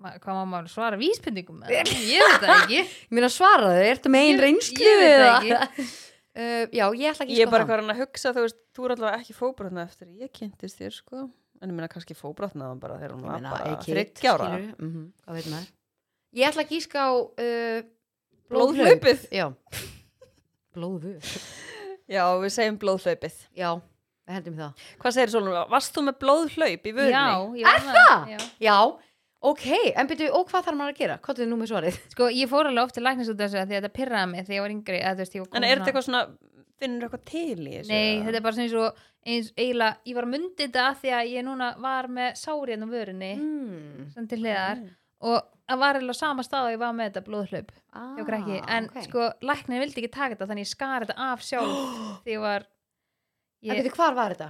[SPEAKER 1] ma- hvað má maður svara vísbendingum með það? Ég veit það ekki.
[SPEAKER 2] Ég meina svara þau, ertu með einn reynslu
[SPEAKER 1] Ég veit það ekki.
[SPEAKER 2] Uh, já, ég ætla ekki
[SPEAKER 3] Ég er bara hvað hann að hugsa, þú veist, þú er allavega ekki fóbrotna eftir að ég kynntist þér, sko. en ég meina kannski fóbrotnaði hann bara þegar hún
[SPEAKER 2] Ég
[SPEAKER 3] var
[SPEAKER 2] meina,
[SPEAKER 3] bara
[SPEAKER 2] a kid,
[SPEAKER 3] þryggja ára
[SPEAKER 2] skilurðu, mhm, hvað veit maður ég ætla að gíska á uh,
[SPEAKER 3] Blóðhlaupið.
[SPEAKER 2] já blóðhlaup
[SPEAKER 3] já við segjum blóðhlaupið
[SPEAKER 2] já, við hendum í það
[SPEAKER 3] hvað segir Solon, varst þú með blóðhlaup í vörunni?
[SPEAKER 1] Já, er það? Já.
[SPEAKER 2] já, ok, en byrju, og hvað þarf maður að gera? hvað er nú með svarið?
[SPEAKER 1] Sko, ég fór alveg oft til læknis út af þessu af því að þetta pirraði mig þegar ég var yngri að, þú veist, ég var
[SPEAKER 3] en er þetta eitthvað svona, finnur eitthvað til í þessu?
[SPEAKER 1] Nei, þetta er bara sem eins og eins, eiginlega, ég var að myndi þetta af því að ég núna var með sári hérna á vörunni
[SPEAKER 2] Mm.
[SPEAKER 1] sem til hliðar og það var eiginlega á sama stað og ég var með þetta blóðhlaup
[SPEAKER 2] Ah,
[SPEAKER 1] hjá krakki, en
[SPEAKER 2] ok.
[SPEAKER 1] sko læknir vildi ekki taka þetta þannig ég skar þetta af sjálf því ég var
[SPEAKER 2] En
[SPEAKER 1] ég,
[SPEAKER 2] veitu, hvar var þetta?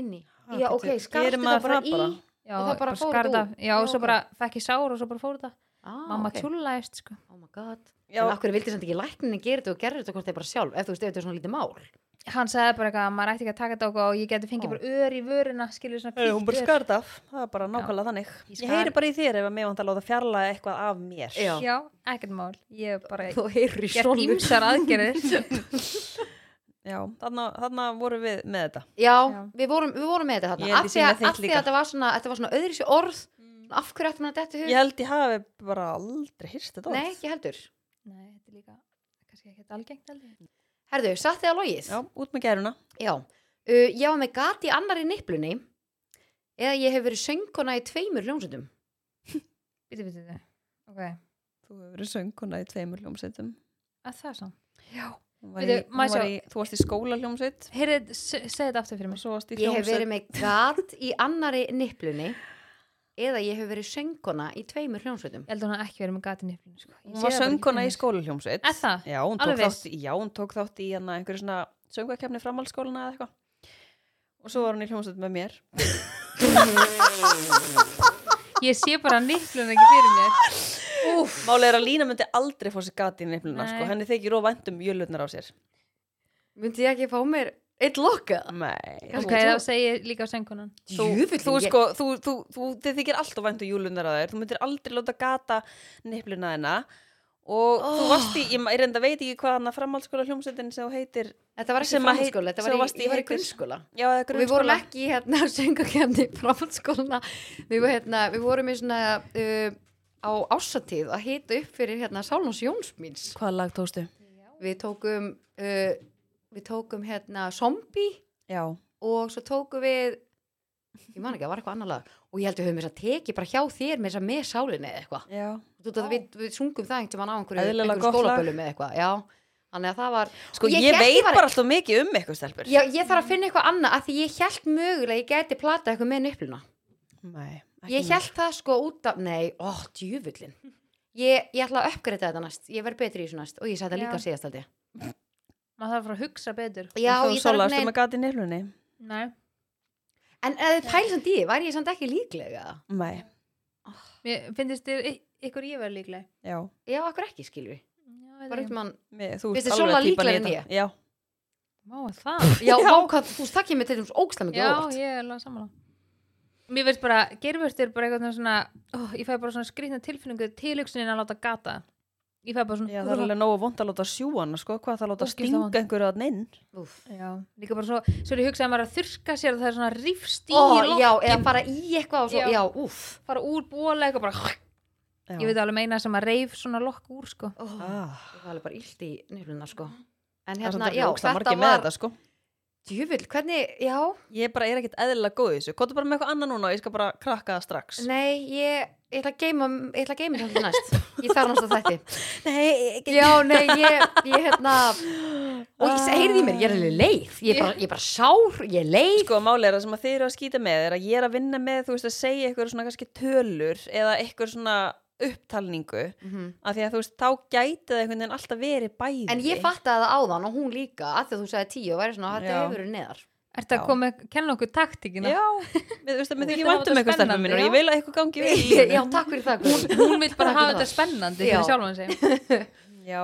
[SPEAKER 2] Inni?
[SPEAKER 3] Ah,
[SPEAKER 2] Já, ok,
[SPEAKER 3] getur-
[SPEAKER 2] skarstu
[SPEAKER 3] gerir
[SPEAKER 2] það
[SPEAKER 3] maður
[SPEAKER 2] bara
[SPEAKER 3] það
[SPEAKER 2] í
[SPEAKER 3] bara?
[SPEAKER 1] já,
[SPEAKER 2] og það bara fór
[SPEAKER 1] skar
[SPEAKER 2] þetta
[SPEAKER 1] þetta
[SPEAKER 2] út?
[SPEAKER 1] af. já,
[SPEAKER 2] Já,
[SPEAKER 1] og svo
[SPEAKER 2] ok.
[SPEAKER 1] bara fekk ég sár og svo bara fór þetta
[SPEAKER 2] ah,
[SPEAKER 1] mamma
[SPEAKER 2] ok.
[SPEAKER 1] okay. tjúlaðist sko
[SPEAKER 2] Oh my god
[SPEAKER 3] Já,
[SPEAKER 2] En akkur vildi samt ekki lækninni gera þetta og gera þetta hvort þeir bara sjálf ef þú veist, ef þetta er svona lítið mál
[SPEAKER 1] hann sagði bara eitthvað að maður ætti ekki að taka þetta á og ég geti fengið
[SPEAKER 2] Ó.
[SPEAKER 1] bara ör í vöruna skilur svona
[SPEAKER 3] Hey, hún bara
[SPEAKER 1] hvítt ör.
[SPEAKER 3] skarð af, það er bara nákvæmlega þannig
[SPEAKER 1] Ég
[SPEAKER 3] ég,
[SPEAKER 1] skar-
[SPEAKER 3] heyri bara í þér ef að mig vant að láta fjarlæga eitthvað af mér
[SPEAKER 2] Já.
[SPEAKER 1] já, ekkert mál ég hef bara
[SPEAKER 2] Þú heyrir í
[SPEAKER 1] gert
[SPEAKER 2] sjálfur.
[SPEAKER 1] ímsar aðgerðir
[SPEAKER 3] Já, þarna, þarna vorum við með þetta
[SPEAKER 2] Já,
[SPEAKER 1] Já.
[SPEAKER 2] Við, vorum, við vorum með þetta þarna af
[SPEAKER 3] Ég held ég
[SPEAKER 2] því
[SPEAKER 3] sé
[SPEAKER 2] að,
[SPEAKER 3] með þitt
[SPEAKER 2] að, því að
[SPEAKER 3] líka. Mm.
[SPEAKER 2] þetta var svona, þetta var svona öðri sér orð af hverju ætti maður að detta í hug?
[SPEAKER 3] Ég held ég hafi bara aldrei hýrst þetta orð.
[SPEAKER 2] Nei, ekki heldur
[SPEAKER 1] nei, þetta er líka kannski ekkert algengt heldur.
[SPEAKER 2] Herðu, satt þið að logið?
[SPEAKER 3] Já, út með geruna
[SPEAKER 2] Já. Uh, ég var með gat í annari niplunni eða ég hef verið söngkona í tveimur ljónsundum
[SPEAKER 1] Bíddu, bíddu, bíddu. ok,
[SPEAKER 3] Þú hefur verið sönguna í tveimur hljómsveitum
[SPEAKER 1] að það er sann
[SPEAKER 3] Hún var í,
[SPEAKER 1] Veitu,
[SPEAKER 3] hún
[SPEAKER 1] maður
[SPEAKER 3] var
[SPEAKER 1] sjá-
[SPEAKER 3] í, Þú varst í skóla hljómsveit
[SPEAKER 1] heyrið, segð þetta aftur fyrir
[SPEAKER 3] og
[SPEAKER 1] mér
[SPEAKER 3] svo varst í
[SPEAKER 2] Ég hef verið
[SPEAKER 3] hljómsveit
[SPEAKER 2] með gat í annari niplunni eða ég hef verið söngkona í tveimur hljónsveitum
[SPEAKER 1] ég held að hún hafi ekki verið með gati nýflun sko. Ég
[SPEAKER 3] Hún
[SPEAKER 1] sé
[SPEAKER 3] var
[SPEAKER 1] það bara ekki
[SPEAKER 3] sönguna
[SPEAKER 1] fyrir
[SPEAKER 3] í skóla hljómsveit
[SPEAKER 1] Er það?
[SPEAKER 3] Já, hún tók
[SPEAKER 1] Alveg viss?
[SPEAKER 3] þátt, í- já, hún tók þátt í hana einhverju svona söngakefni framhaldsskólana eða eitthvað og svo var hún í hljómsveit með mér
[SPEAKER 1] mér. ég sé bara nýflun ekki fyrir mér
[SPEAKER 2] Úf,
[SPEAKER 3] Málega er að Lína myndi aldrei fá sér gati í nefnuna
[SPEAKER 1] Nei.
[SPEAKER 3] sko. henni þykir of vænt um jölutnar á sér
[SPEAKER 2] myndi ég ekki fá mér eitt lokka?
[SPEAKER 3] Nei,
[SPEAKER 1] ok, þá segi ég líka á söngunan
[SPEAKER 3] þú,
[SPEAKER 2] Jöfull,
[SPEAKER 3] þú,
[SPEAKER 2] ég-
[SPEAKER 3] sko, þú, þú, þú, þið þykir alltaf væntu júlunar að um þér, þú myndir aldrei láta gata nefnuna þina og þú varst í, ég, ma- ég reynda veit ekki hvað hana framhaldsskóla hljómsveitin sem þú heitir
[SPEAKER 2] Þetta var ekki
[SPEAKER 3] Sem að heit-
[SPEAKER 2] framhaldsskóla, þetta
[SPEAKER 3] sem
[SPEAKER 2] var
[SPEAKER 3] varst
[SPEAKER 2] í,
[SPEAKER 3] í
[SPEAKER 2] ég var í
[SPEAKER 3] heitir.
[SPEAKER 2] grunnskóla
[SPEAKER 3] já, eða
[SPEAKER 2] og við vorum
[SPEAKER 3] grunnskóla.
[SPEAKER 2] ekki í, hérna söngakefni framhaldsskóla við, vorum, hérna, við vorum í svona uh, á ásatíð að hita upp fyrir hérna Sálons Jóns míns
[SPEAKER 3] Hvaða lag tókstu?
[SPEAKER 2] við tókum uh, við tókum hérna zombie
[SPEAKER 3] Já,
[SPEAKER 2] og svo tókum við ég man ekki, það var eitthvað annar lag og ég held við höfum þess að teki bara hjá þér með þess að með sálinni eða eitthvað
[SPEAKER 3] já
[SPEAKER 2] Þú veist að við, við sungum það einhvern veginn á einhverju,
[SPEAKER 3] Eðlilega
[SPEAKER 2] einhverju
[SPEAKER 3] gott lag.
[SPEAKER 2] skólabölu með eitthvað já, þannig að það var
[SPEAKER 3] Sko,
[SPEAKER 2] Og
[SPEAKER 3] ég,
[SPEAKER 2] hélt
[SPEAKER 3] veit
[SPEAKER 2] var-
[SPEAKER 3] bara alltaf mikið um eitthvað stelpur
[SPEAKER 2] Já, ég þarf að finna eitthvað annað að því ég held mögulega að ég gæti plata eitthvað með nöfluna.
[SPEAKER 3] Nei, ekki
[SPEAKER 2] Ég held það sko út af, nei, ó, djúvullin. Ég, ég ætla að uppgreita þetta næst, ég verð betri í þessu næst og ég sagði það
[SPEAKER 1] Já.
[SPEAKER 2] líka síðast aldrei.
[SPEAKER 1] maður þarf að fara að hugsa betur
[SPEAKER 2] Já,
[SPEAKER 3] En um þú
[SPEAKER 2] ég þarf
[SPEAKER 3] Sola, ertu
[SPEAKER 2] neinn,
[SPEAKER 3] með gata í nefnunni?
[SPEAKER 1] nei,
[SPEAKER 2] en eða þið pælir samt í, því, væri ég samt ekki líklega?
[SPEAKER 3] Nei,
[SPEAKER 1] mér finnst þér y- ykkur ég verið líkleg
[SPEAKER 3] já
[SPEAKER 2] Já, akkur ekki, skilur við.
[SPEAKER 1] Já, ég veit
[SPEAKER 2] Bara
[SPEAKER 1] ekki.
[SPEAKER 2] eitthvað mann,
[SPEAKER 3] Mér, Þú
[SPEAKER 2] Finnst
[SPEAKER 3] ert
[SPEAKER 2] þér
[SPEAKER 3] alveg
[SPEAKER 2] Sola
[SPEAKER 3] að típa
[SPEAKER 2] líklegri en
[SPEAKER 3] nýta
[SPEAKER 2] ég?
[SPEAKER 3] Já,
[SPEAKER 1] má það
[SPEAKER 2] já, já. Vákað, þú veist, það kemur til þessum ógstæmi ekki
[SPEAKER 1] já,
[SPEAKER 2] óvart.
[SPEAKER 1] ég er alveg sammála mér finnst bara, gerfurst er bara eitthvað svona ó, ég fæ bara svona skrýtna tilfinningu tilhugsunin að láta gata ég fæ bara
[SPEAKER 2] Mm.
[SPEAKER 1] svona
[SPEAKER 3] já það er alveg nógu vond að láta sjúana sko, hvað það láta
[SPEAKER 1] Ógeðslega vont.
[SPEAKER 3] stinga einhverju að inn
[SPEAKER 2] Úff.
[SPEAKER 1] Já, líka bara svo, svo er ég hugsað að maður er að þurrka sér og það er svona rífst í
[SPEAKER 2] Ó,
[SPEAKER 1] lokk,
[SPEAKER 2] já, eða bara í eitthvað og svo,
[SPEAKER 1] Já.
[SPEAKER 2] já, úff.
[SPEAKER 1] fara úr bóla eitthvað bara,
[SPEAKER 3] Já.
[SPEAKER 1] ég veit alveg meina sem að reif svona lokk úr sko.
[SPEAKER 2] Ó,
[SPEAKER 3] Ah. Mm.
[SPEAKER 2] Það er bara illt í nöfluna, sko. En
[SPEAKER 3] Það er
[SPEAKER 2] hérna,
[SPEAKER 3] svolítið
[SPEAKER 2] já,
[SPEAKER 3] ógeðslega
[SPEAKER 2] þetta
[SPEAKER 3] margir með
[SPEAKER 2] var,
[SPEAKER 3] þetta, sko.
[SPEAKER 2] djúvull, hvernig, já,
[SPEAKER 3] Ég bara er ekkert eðlilega góð í þessu. Kóta bara með eitthvað annað núna og ég skal bara krakka það strax.
[SPEAKER 2] Nei, ég, ég ætla að geima ég ætla að geima þetta næst, ég þarf næst að þetta
[SPEAKER 3] Nei, ekki.
[SPEAKER 2] Já, nei, ég, ég hérna og ég heyrði í mér, ég er alveg leið ég er bara, ég er bara sár, ég er leið
[SPEAKER 3] Sko, máli er það sem að þið eru að skýta með er að ég er að vinna með, þú veist, að segja eitthvað svona kannski tölur eða eitthvað svona upptalningu. Af því að þú veist, þá gæti það einhvern veginn alltaf verið bæði.
[SPEAKER 2] En ég fattaði það áðan og hún líka að því að þú sagði tíu og væri svona, þetta
[SPEAKER 3] Já.
[SPEAKER 2] hefur verið neðar
[SPEAKER 1] Ertu að
[SPEAKER 3] Já.
[SPEAKER 1] koma, kenna okkur taktíkina
[SPEAKER 3] Já, við, þú veist, að mér
[SPEAKER 1] Þú
[SPEAKER 3] þykir
[SPEAKER 1] getur
[SPEAKER 3] vænt um
[SPEAKER 1] hafa
[SPEAKER 3] eitthvað
[SPEAKER 1] þetta
[SPEAKER 3] starfið
[SPEAKER 1] spennandi,
[SPEAKER 3] mín og ég vil að eitthvað gangi vel. í
[SPEAKER 2] Já,
[SPEAKER 3] lífinu.
[SPEAKER 2] takk fyrir það Guðrún.
[SPEAKER 1] Hún vil bara
[SPEAKER 2] Takk
[SPEAKER 1] hafa
[SPEAKER 2] fyrir
[SPEAKER 1] þetta
[SPEAKER 2] það.
[SPEAKER 1] spennandi
[SPEAKER 2] Já.
[SPEAKER 1] fyrir sjálfan sig
[SPEAKER 3] Já,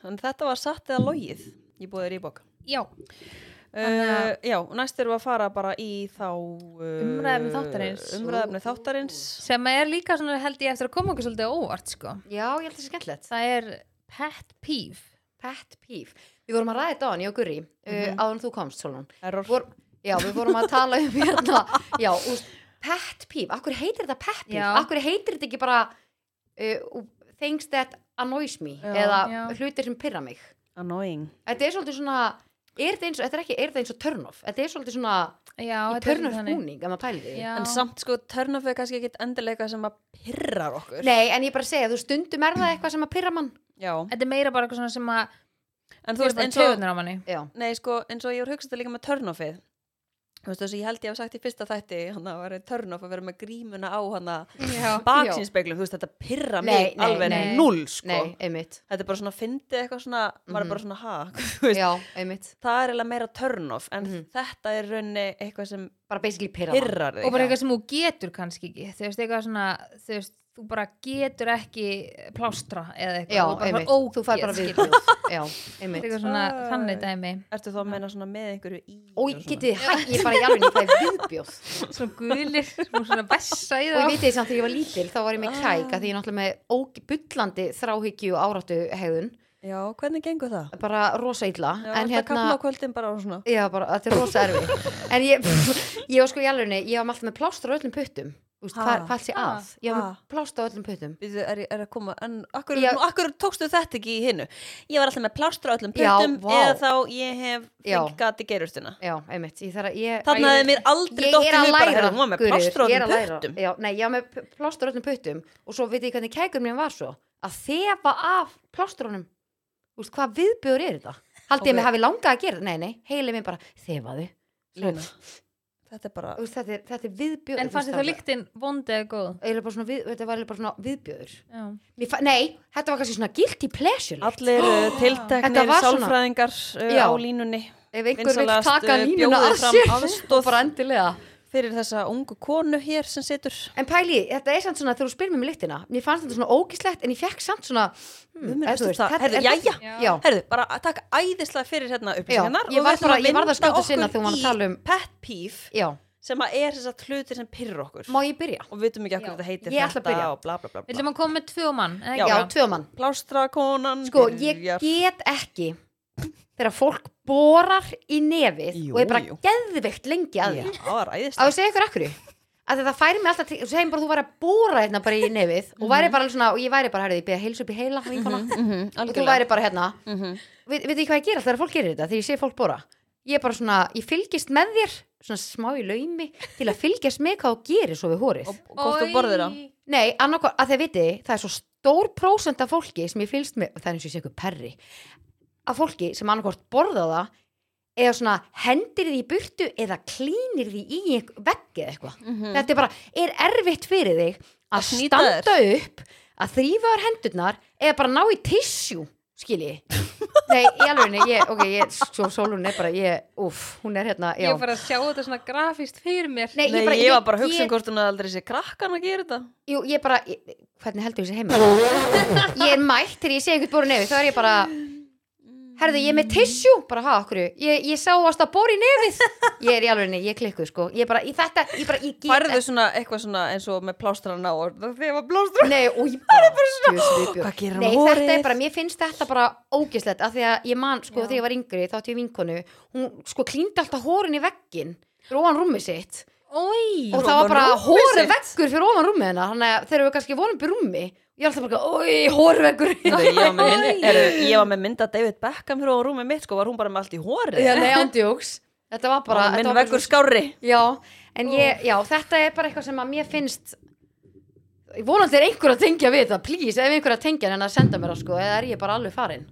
[SPEAKER 3] þannig þetta var satt eða logið. Ég búið þér í bók.
[SPEAKER 1] Já,
[SPEAKER 3] Uh, já, og næst erum við að fara bara í þá uh,
[SPEAKER 1] Umræðuefni þáttarins.
[SPEAKER 3] Umræðefni þáttarins
[SPEAKER 1] sem er líka svona held ég eftir að koma okkur svolítið á óvart sko.
[SPEAKER 2] Já, ég held þessi skemmtilegt
[SPEAKER 1] Það er pet peeve
[SPEAKER 2] Pet peeve Við vorum að ræða þetta á hann, ég og Gurri, mm
[SPEAKER 3] Mhm.
[SPEAKER 2] áður en þú komst, Solon
[SPEAKER 3] Error
[SPEAKER 2] Vor, já, við vorum að tala um hérna já, úst, pet peeve, akkur heitir þetta pet peeve
[SPEAKER 1] Já.
[SPEAKER 2] akkur heitir þetta ekki bara uh, things that annoys me
[SPEAKER 3] Já.
[SPEAKER 2] eða
[SPEAKER 1] Já.
[SPEAKER 2] hlutir sem pyrra mig
[SPEAKER 3] Annoying.
[SPEAKER 2] þetta er svolítið svona er þetta eins og, þetta er ekki, er þetta eins og turn off þetta er svolítið svona
[SPEAKER 1] já,
[SPEAKER 2] í
[SPEAKER 1] þetta er
[SPEAKER 2] turn off
[SPEAKER 1] þannig.
[SPEAKER 2] búning, ef maður pælir því
[SPEAKER 1] Já.
[SPEAKER 3] En samt sko, törnaf er kannski ekkit endilega sem að pyrrar okkur.
[SPEAKER 2] nei, en ég bara segja, þú stundum er það eitthvað sem að pyrra mann
[SPEAKER 3] Já.
[SPEAKER 1] þetta er meira bara eitthvað svona sem að
[SPEAKER 3] En þú
[SPEAKER 1] þú
[SPEAKER 3] veist,
[SPEAKER 1] bara
[SPEAKER 3] eins og,
[SPEAKER 1] töðunar á manni
[SPEAKER 2] já,
[SPEAKER 3] nei sko, eins og ég voru hugsað þetta líka með törnofið. Þú veist, þessu ég held ég hef sagt í fyrsta þætti, hann að vera törnof að vera með grímuna á hann að
[SPEAKER 1] já,
[SPEAKER 3] baksinspeglum, þú veist, þetta pyrra
[SPEAKER 2] Nei,
[SPEAKER 3] mig
[SPEAKER 2] nei,
[SPEAKER 3] alveg
[SPEAKER 1] nei.
[SPEAKER 3] null, sko.
[SPEAKER 2] nei, einmitt
[SPEAKER 3] Þetta er bara svona, fyndið eitthvað svona, maður
[SPEAKER 2] Mhm.
[SPEAKER 3] er bara svona, ha, þú veist,
[SPEAKER 2] já, einmitt,
[SPEAKER 3] það er eiginlega meira turnoff en
[SPEAKER 2] Mhm.
[SPEAKER 3] þetta er raunni eitthvað sem
[SPEAKER 2] bara basically pyrra mann
[SPEAKER 3] pyrrar þig
[SPEAKER 1] og bara eitthvað sem þú getur kannski ekki þú veist, eitthvað svona, þú veist þú bara getur ekki plástra eða eitthvað,
[SPEAKER 2] já,
[SPEAKER 1] þú bara
[SPEAKER 2] einmitt,
[SPEAKER 1] fara
[SPEAKER 2] þú fær bara
[SPEAKER 1] skilur.
[SPEAKER 2] viðbjóð já, einmitt
[SPEAKER 1] eitthvað svona
[SPEAKER 3] Æ.
[SPEAKER 1] þannig dæmi
[SPEAKER 3] Ertu þá að meina svona með einhverju í
[SPEAKER 2] og
[SPEAKER 3] og svona?
[SPEAKER 2] getið, hæ, ég bara í alveg ég fæði viðbjóð
[SPEAKER 1] svona gulir, svona bessa í
[SPEAKER 2] og ég
[SPEAKER 1] það
[SPEAKER 2] veit því samt þegar ég var lítil þá var ég með
[SPEAKER 3] Ah.
[SPEAKER 2] kæk að því ég er náttúrulega með óg- bullandi þráhyggju og áráttu hegðun
[SPEAKER 3] Já, hvernig gengur það?
[SPEAKER 2] bara rosa illa
[SPEAKER 3] Já,
[SPEAKER 2] en
[SPEAKER 3] en hérna
[SPEAKER 2] hérna
[SPEAKER 3] Kapna á kvöldin bara og svona
[SPEAKER 2] já, bara, þetta er rosa erfi en ég, ég var sko í alvegni ég var með alltaf með plástur á öllum puttum Þú veist,
[SPEAKER 3] Ha.
[SPEAKER 2] hvað er- hvað er sér að ég var
[SPEAKER 3] Ha.
[SPEAKER 2] með plástur á öllum puttum
[SPEAKER 3] Við er, er að koma, en akkur,
[SPEAKER 2] Já.
[SPEAKER 3] nú, akkur tókstu þetta ekki í hinnu? Ég var alltaf með plástur á öllum
[SPEAKER 2] Já,
[SPEAKER 3] puttum
[SPEAKER 2] vá.
[SPEAKER 3] eða þá ég hef
[SPEAKER 2] Já.
[SPEAKER 3] fenggat í gerustuna
[SPEAKER 2] já, einmitt ég þarf að ég
[SPEAKER 3] Þannig að mér aldrei
[SPEAKER 2] Ég
[SPEAKER 3] dóttir
[SPEAKER 2] er að
[SPEAKER 3] hug bara,
[SPEAKER 2] læra,
[SPEAKER 3] "Heyrðu, hún var með
[SPEAKER 2] Guðríður,
[SPEAKER 3] plástur á
[SPEAKER 2] ég er að
[SPEAKER 3] öllum
[SPEAKER 2] læra.
[SPEAKER 3] puttum
[SPEAKER 2] Já, nei, ég var með p- plástur á öllum puttum og svo veit ég hvernig kækur mér var svo að þefa af plásturunum Þú veist, hvað viðbjör er þetta? Haldi ég
[SPEAKER 3] Ok.
[SPEAKER 2] mig hafi langað að gera? Nei, nei, heili mér bara þefaði
[SPEAKER 3] Lína, Þetta er bara
[SPEAKER 2] Þú veist, þetta er, þetta er viðbjóður
[SPEAKER 1] en fannst þér þá líktinn vond eða góð
[SPEAKER 2] við, þetta var eiginlega bara svona viðbjóður
[SPEAKER 1] já,
[SPEAKER 2] Mér fa- nei, þetta var kannski svona guilty pleasure
[SPEAKER 3] Allir uh,
[SPEAKER 2] Þetta
[SPEAKER 3] tilteknir
[SPEAKER 2] var svona-
[SPEAKER 3] sálfræðingar uh,
[SPEAKER 2] Já.
[SPEAKER 3] á línunni
[SPEAKER 2] ef einhver vil
[SPEAKER 3] vinsalast,
[SPEAKER 2] taka
[SPEAKER 3] uh,
[SPEAKER 2] línuna
[SPEAKER 3] bjóðið
[SPEAKER 2] að
[SPEAKER 3] fram
[SPEAKER 2] sér
[SPEAKER 3] aðstoð.
[SPEAKER 2] og bara endilega
[SPEAKER 3] fyrir þessa ungu konu hér sem situr
[SPEAKER 2] en pæli, þetta er samt svona þegar þú spyrir mér um lyktina mér fannst þetta svona ógislegt en ég fekk samt svona hmm,
[SPEAKER 3] Guð minn,
[SPEAKER 2] eða þú
[SPEAKER 3] veistu
[SPEAKER 2] veist,
[SPEAKER 3] það,
[SPEAKER 2] þetta
[SPEAKER 3] herðu,
[SPEAKER 2] er-
[SPEAKER 3] jæja,
[SPEAKER 1] Já.
[SPEAKER 2] já,
[SPEAKER 3] herðu, bara að taka æðislega fyrir hérna upplýsingarnar
[SPEAKER 2] Já, ég
[SPEAKER 3] og
[SPEAKER 2] var
[SPEAKER 3] við ætlum
[SPEAKER 2] bara- ég varð að
[SPEAKER 3] vinda
[SPEAKER 2] skjóta
[SPEAKER 3] okkur
[SPEAKER 2] sinna þegar hún var að
[SPEAKER 3] í
[SPEAKER 2] tala um-
[SPEAKER 3] pet peeve
[SPEAKER 2] já,
[SPEAKER 3] sem að er þess að hlutir sem pyrr okkur
[SPEAKER 2] má ég byrja?
[SPEAKER 3] og vitum ekki okkur
[SPEAKER 1] Já,
[SPEAKER 3] þetta heitir
[SPEAKER 2] ég ætla að
[SPEAKER 3] þetta
[SPEAKER 2] byrja.
[SPEAKER 3] og bla bla bla, bla.
[SPEAKER 1] villum að koma með tvö mann eða
[SPEAKER 2] já,
[SPEAKER 1] ekki?
[SPEAKER 2] tvö mann
[SPEAKER 3] plástrakonan
[SPEAKER 2] sko, ég get ekki þegar fólk borar í nefið
[SPEAKER 3] Jú,
[SPEAKER 2] og er bara
[SPEAKER 3] jú.
[SPEAKER 2] geðveikt lengi að því
[SPEAKER 3] já, það var
[SPEAKER 2] að
[SPEAKER 3] æðislega
[SPEAKER 2] þú segja ykkur akkur að það færi mig alltaf til, þú segir bara þú væri að bóra hérna bara í nefið og
[SPEAKER 3] Mhm.
[SPEAKER 2] væri bara alveg svona, og ég væri bara, herrið, ég byrja heils upp í heila vinkona, og þú væri bara hérna
[SPEAKER 3] Mhm.
[SPEAKER 2] veit þið hvað ég gera þegar fólk gerir þetta þegar ég sé fólk bóra, ég er bara svona ég fylgist með þér, svona smá í laumi til að fylgjast með hvað þú gerir svo við hórið
[SPEAKER 3] og hvort þú borðir það
[SPEAKER 1] Oj.
[SPEAKER 2] nei, annarkor, að þið vitið, það er svo stór prósent af fólki sem ég fylgst með það er eins og ég sé ykkur perri af fólki sem annarkort borða það eða svona hendir því í burtu eða klínir því í einhver- vegg eða eitthvað
[SPEAKER 3] Mhm.
[SPEAKER 2] þetta er bara, er erfitt fyrir þig að,
[SPEAKER 3] Mm. Að snýta
[SPEAKER 2] standa upp að þrýfaður hendurnar eða bara ná í tissjú, skilji nei, í alveg, ég, ok, ég svo sólun er bara, ég, uff, hún er hérna já,
[SPEAKER 1] ég var að sjá þetta svona grafíst fyrir mér
[SPEAKER 2] Nei,
[SPEAKER 3] Nei, ég var bara að
[SPEAKER 2] ég,
[SPEAKER 3] hugsa um hvort hún hafði aldrei sé krakkan að gera þetta
[SPEAKER 2] jú, ég bara, ég, hvernig heldur þessi heima ég er mætt þegar ég sé einhvern bóru nefið, þá er ég bara herðu, ég er með tissjú, bara ha, okkur ég, ég sá ást að bóri nefið ég er í alveg, ég klikkuð, sko ég bara, ég, þetta, ég bara, ég get
[SPEAKER 3] Færðu svona eitthvað svona eins og með plástrana og þegar var plástra
[SPEAKER 2] Nei, og ég bara, bara svona
[SPEAKER 3] Hvað gerir hann
[SPEAKER 2] Nei,
[SPEAKER 3] á
[SPEAKER 2] þetta
[SPEAKER 3] vorið?
[SPEAKER 2] er bara, mér finnst þetta bara ógislegt af því að ég man, sko, þegar ég var yngri þá átti ég vinkonu, hún sko klíndi alltaf hórin í veggin fyrir ofan rúmið sitt
[SPEAKER 1] oi
[SPEAKER 2] og það var
[SPEAKER 3] ofan
[SPEAKER 2] bara
[SPEAKER 3] rúmið
[SPEAKER 2] hóri
[SPEAKER 3] sitt?
[SPEAKER 2] veggur fyrir ofan rúmið hennar þannig að þeir eru kannski vonum byrjum rúmi ég er alltaf bara, oi, hóri veggur
[SPEAKER 3] Heyrðu, ég, var með mynd, er, ég var með mynda David Beckham fyrir á rúmið mitt sko, var hún bara með allt í hóri
[SPEAKER 2] Já, nei, andjóks Þetta var bara,
[SPEAKER 3] minn
[SPEAKER 2] þetta var
[SPEAKER 3] veggur
[SPEAKER 2] bara
[SPEAKER 3] skári
[SPEAKER 2] Já, en ég, já, þetta er bara eitthvað sem að mér finnst vonandi er einhver að tengja við þetta, please ef einhver að tengja en að senda mér það sko, eða er ég bara alveg farin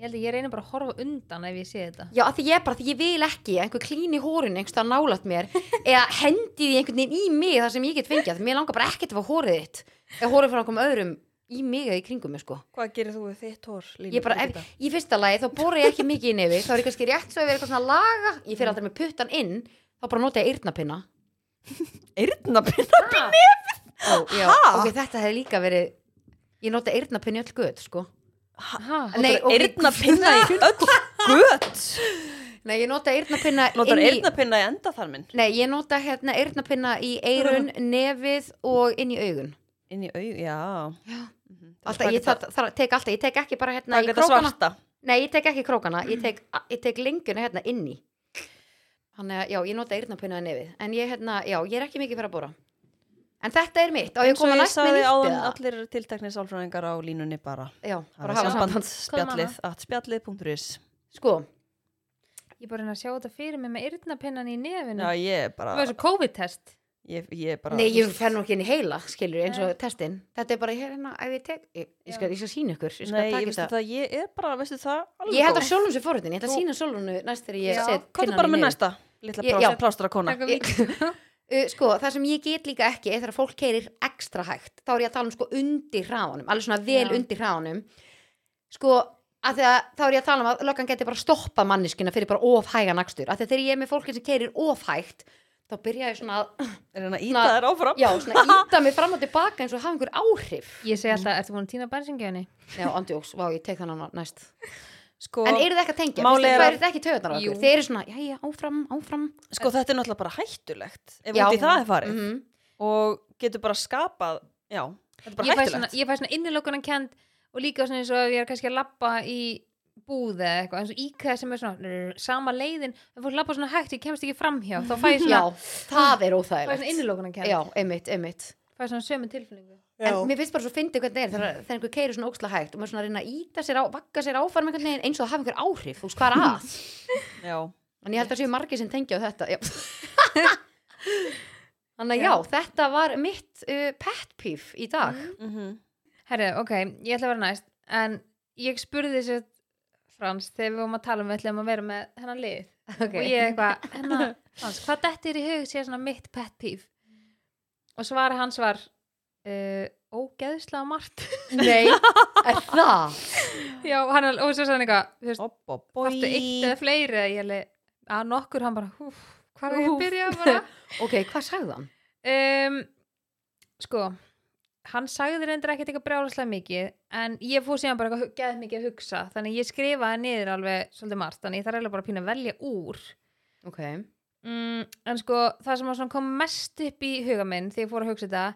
[SPEAKER 1] ég held að ég reyna bara að horfa undan ef ég sé þetta
[SPEAKER 2] Já, af því ég er bara, því ég vil ekki að einhver klín í hórun einhverstað nálat mér eða hendi því einhvern veginn í mig þar sem ég get fengið, því mér langar bara ekkert að fá hórið þitt eða hórið frá einhverjum öðrum í mig eða í kringum mig sko.
[SPEAKER 3] Hvað gerir þú við þitt hór? Línu,
[SPEAKER 2] Ég bara, ef, í fyrsta lagi þá bóra ég ekki mikið í nefi þá er ég kannski rétt svo ef ég er eitthvað svona að laga ég fyrir alltaf með puttan inn, þá bara nota ég eyrnapinna
[SPEAKER 3] Eyrnapinna
[SPEAKER 2] Ó, já, ok, þetta hefði líka verið ég nota eyrnapinni í öll göð sko.
[SPEAKER 1] ha,
[SPEAKER 2] Nei, ok.
[SPEAKER 3] Eyrnapinna í öll gött
[SPEAKER 2] Nei, ég nota eyrnapinna
[SPEAKER 3] Notar
[SPEAKER 2] inn í
[SPEAKER 3] eyrnapinna í enda þar minn
[SPEAKER 2] Nei, ég nota hérna eyrnapinna í eyrun, nefið og inn í augun
[SPEAKER 3] Inn í aug, já Mhm.
[SPEAKER 2] alltaf, ég það, það, tek alltaf, ég tek ekki bara hérna
[SPEAKER 3] Það
[SPEAKER 2] í
[SPEAKER 3] geta
[SPEAKER 2] krókana
[SPEAKER 3] svarta
[SPEAKER 2] Nei, ég tek ekki krókana, ég tek, ég tek lengjuna hérna inni Þannig að, já, ég nota eyrnapinna í nefið En ég, hérna, já, ég er ekki mikið fyrir að bóra En þetta er mitt, á ég að
[SPEAKER 3] Eins og
[SPEAKER 2] koma
[SPEAKER 3] ég
[SPEAKER 2] næst með
[SPEAKER 3] sagði
[SPEAKER 2] nýtt
[SPEAKER 3] áðan
[SPEAKER 2] eða?
[SPEAKER 3] allir eru tiltakni sálfræðingar á línunni bara.
[SPEAKER 2] Já,
[SPEAKER 3] Það
[SPEAKER 2] bara
[SPEAKER 3] er
[SPEAKER 2] hafa
[SPEAKER 1] samband.
[SPEAKER 2] samband
[SPEAKER 3] Spjallið, at spjallið.is
[SPEAKER 2] Sko,
[SPEAKER 1] Ég er bara að reyna að sjá þetta fyrir mig með yrnapennan í nefinu.
[SPEAKER 3] Já, ég er
[SPEAKER 1] það
[SPEAKER 3] bara,
[SPEAKER 1] var svo COVID-test.
[SPEAKER 3] ég, ég er bara
[SPEAKER 2] nei, ég fer nú ekki inn í heila, skilur, eins og
[SPEAKER 1] Nei.
[SPEAKER 2] testin Þetta er bara, hérna, ef ég tek Ég, ég, skal, ég skal sína ykkur, ég skal
[SPEAKER 3] Nei, ég
[SPEAKER 2] taka
[SPEAKER 3] veistu
[SPEAKER 2] þetta
[SPEAKER 3] það, ég er bara, veistu það alveg
[SPEAKER 2] Ég held
[SPEAKER 3] góð.
[SPEAKER 2] að sjálfum sér fórhundin, ég ætla að
[SPEAKER 3] Þú-
[SPEAKER 2] sína sjálfum næst þegar ég
[SPEAKER 1] Já.
[SPEAKER 2] set
[SPEAKER 3] Komdu
[SPEAKER 2] pinnan
[SPEAKER 3] bara
[SPEAKER 2] í
[SPEAKER 3] með
[SPEAKER 2] nefið.
[SPEAKER 3] næsta, litla
[SPEAKER 2] Ég-
[SPEAKER 3] plástra,
[SPEAKER 2] já.
[SPEAKER 3] plástra kona
[SPEAKER 1] Taka
[SPEAKER 2] Ég-
[SPEAKER 1] vídeo.
[SPEAKER 2] Uh, sko, það sem ég get líka ekki er þegar fólk keirir ekstra hægt þá er ég að tala um sko undir hraðanum alveg svona vel
[SPEAKER 1] Já.
[SPEAKER 2] undir hraðanum sko, að því að þá er ég að tala um að löggan geti bara stoppa manneskina fyrir bara ofhægan akstur, af því að þegar ég er með fólki sem keirir ofhægt, þá byrja ég svona að,
[SPEAKER 3] Er hann að
[SPEAKER 2] Na-
[SPEAKER 3] íta þær áfram?
[SPEAKER 2] já, svona íta mig fram og tilbaka eins og hafa einhver áhrif
[SPEAKER 1] Ég segi alltaf, ertu búin að týna bensingjöfni?
[SPEAKER 2] já, andjóks, vá, ég tek þannig næst
[SPEAKER 3] Sko,
[SPEAKER 2] en eru það ekki að tengja,
[SPEAKER 3] Málið
[SPEAKER 2] það
[SPEAKER 3] er að-
[SPEAKER 2] er það ekki töðunar
[SPEAKER 1] Jú.
[SPEAKER 2] okkur, þeir eru svona, já, já, áfram, áfram
[SPEAKER 3] sko þetta er náttúrulega bara hættulegt ef
[SPEAKER 2] Já.
[SPEAKER 3] út í það er farið
[SPEAKER 2] mm
[SPEAKER 3] og getur bara skapað, já, þetta er bara
[SPEAKER 1] Ég fæ svona,
[SPEAKER 3] hættulegt
[SPEAKER 1] ég fæ svona innilokunan kend og líka svona eins og ef ég er kannski að lappa í búð eða eitthvað, eins og íkæð sem er svona rr, sama leiðin, ef fólk lappa svona hægt, ég kemst ekki framhjá, þá fæ ég
[SPEAKER 2] já,
[SPEAKER 1] svona,
[SPEAKER 2] það er
[SPEAKER 1] fæ ég svona
[SPEAKER 2] óþægilegt
[SPEAKER 1] innilokunan kend,
[SPEAKER 2] já, einmitt, einmitt
[SPEAKER 1] fæ svona sömu tilfinningu.
[SPEAKER 2] en mér finnst bara svo fyndið hvernig það er þegar, þegar einhver keiri svona óksla hægt og maður svona reyna að íta sér á, vakka sér áfram einhvern veginn eins og það hafa einhver áhrif, þú veist hvað er að
[SPEAKER 3] Já,
[SPEAKER 2] en ég held að séu margir sem tengja á þetta já. þannig að já, þetta var mitt uh, pet peeve í dag
[SPEAKER 3] mhm
[SPEAKER 1] Herri, ok, ég ætla að vera næst, en ég spurði þessu Frans, þegar við vorum að tala um við ætlum að vera með hennan lið og ég eitthvað, hennar, Frans, hvað dettir í hug sé svona mitt pet peeve? Og svara hans var, uh, ógeðslega margt.
[SPEAKER 2] nei, er það
[SPEAKER 1] Já, og hann, og svo sagði hann eitthvað, þú veist,
[SPEAKER 3] Oppa,
[SPEAKER 1] Þarftu eitt eða fleiri eða ég leið að nokkur hann bara húf, hvað er ég
[SPEAKER 2] Úff.
[SPEAKER 1] að byrja bara
[SPEAKER 2] ok, hvað sagði hann?
[SPEAKER 1] um, sko hann sagði reyndar ekkert eitthvað brjálaslega mikið en ég fór síðan bara eitthvað geð mikið að hugsa þannig ég skrifaði niður alveg svolítið margt þannig ég þarf eiginlega bara að pína að velja úr
[SPEAKER 2] ok,
[SPEAKER 1] mm, en sko það sem var svona kom mest upp í huga minn þegar ég fór að hugsa þetta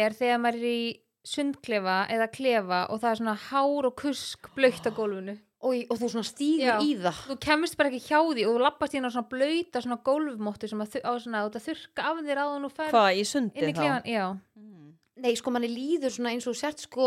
[SPEAKER 1] er þegar maður er í sundklefa eða klefa og það er svona hár og kusk blöytt á gólfinu
[SPEAKER 2] og, og þú svona stígur
[SPEAKER 1] Já.
[SPEAKER 2] í það
[SPEAKER 1] þú kemst bara ekki hjá því og þú lappast inn á svona blöyta svona gólfmóttu sem að, þu- á svona, að þurrka af þér áðan og fer
[SPEAKER 3] Hvað, í
[SPEAKER 1] inn
[SPEAKER 3] sundi
[SPEAKER 1] í
[SPEAKER 3] þá?
[SPEAKER 1] klefan já,
[SPEAKER 3] Mm.
[SPEAKER 2] nei, sko manni líður svona eins og þú sért sko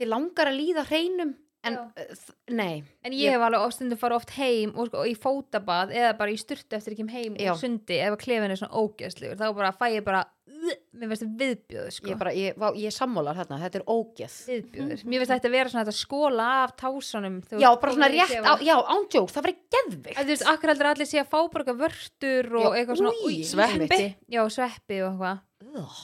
[SPEAKER 2] þið langar að líða hreinum en,
[SPEAKER 1] Já.
[SPEAKER 2] uh, þ- nei,
[SPEAKER 1] en ég hef alveg ofstundum fara oft heim og, og í fótabað eða bara í styrtu eftir ekki heim
[SPEAKER 2] Já.
[SPEAKER 1] og sundi ef að klefin er svona ógeðslegur þá bara fæ ég bara "Ugh", mér finnst þetta viðbjöður sko
[SPEAKER 2] ég bara, ég, vá, ég sammálar hérna, þetta er ógeð
[SPEAKER 1] viðbjöður, mér finnst þetta vera svona þetta skóla af tásunum þú
[SPEAKER 2] Já,
[SPEAKER 1] veist,
[SPEAKER 2] bara
[SPEAKER 1] og
[SPEAKER 2] svona
[SPEAKER 1] í
[SPEAKER 2] rétt á,
[SPEAKER 1] klefanum.
[SPEAKER 2] já, ándjók, það verið geðvikt
[SPEAKER 1] En þú veist, akkur heldur allir sé að fá bara eitthvað vörtur og
[SPEAKER 2] Já,
[SPEAKER 1] eitthvað svona
[SPEAKER 2] új,
[SPEAKER 1] új,
[SPEAKER 3] sveppi.
[SPEAKER 1] sundi. já, sveppi og eitthvað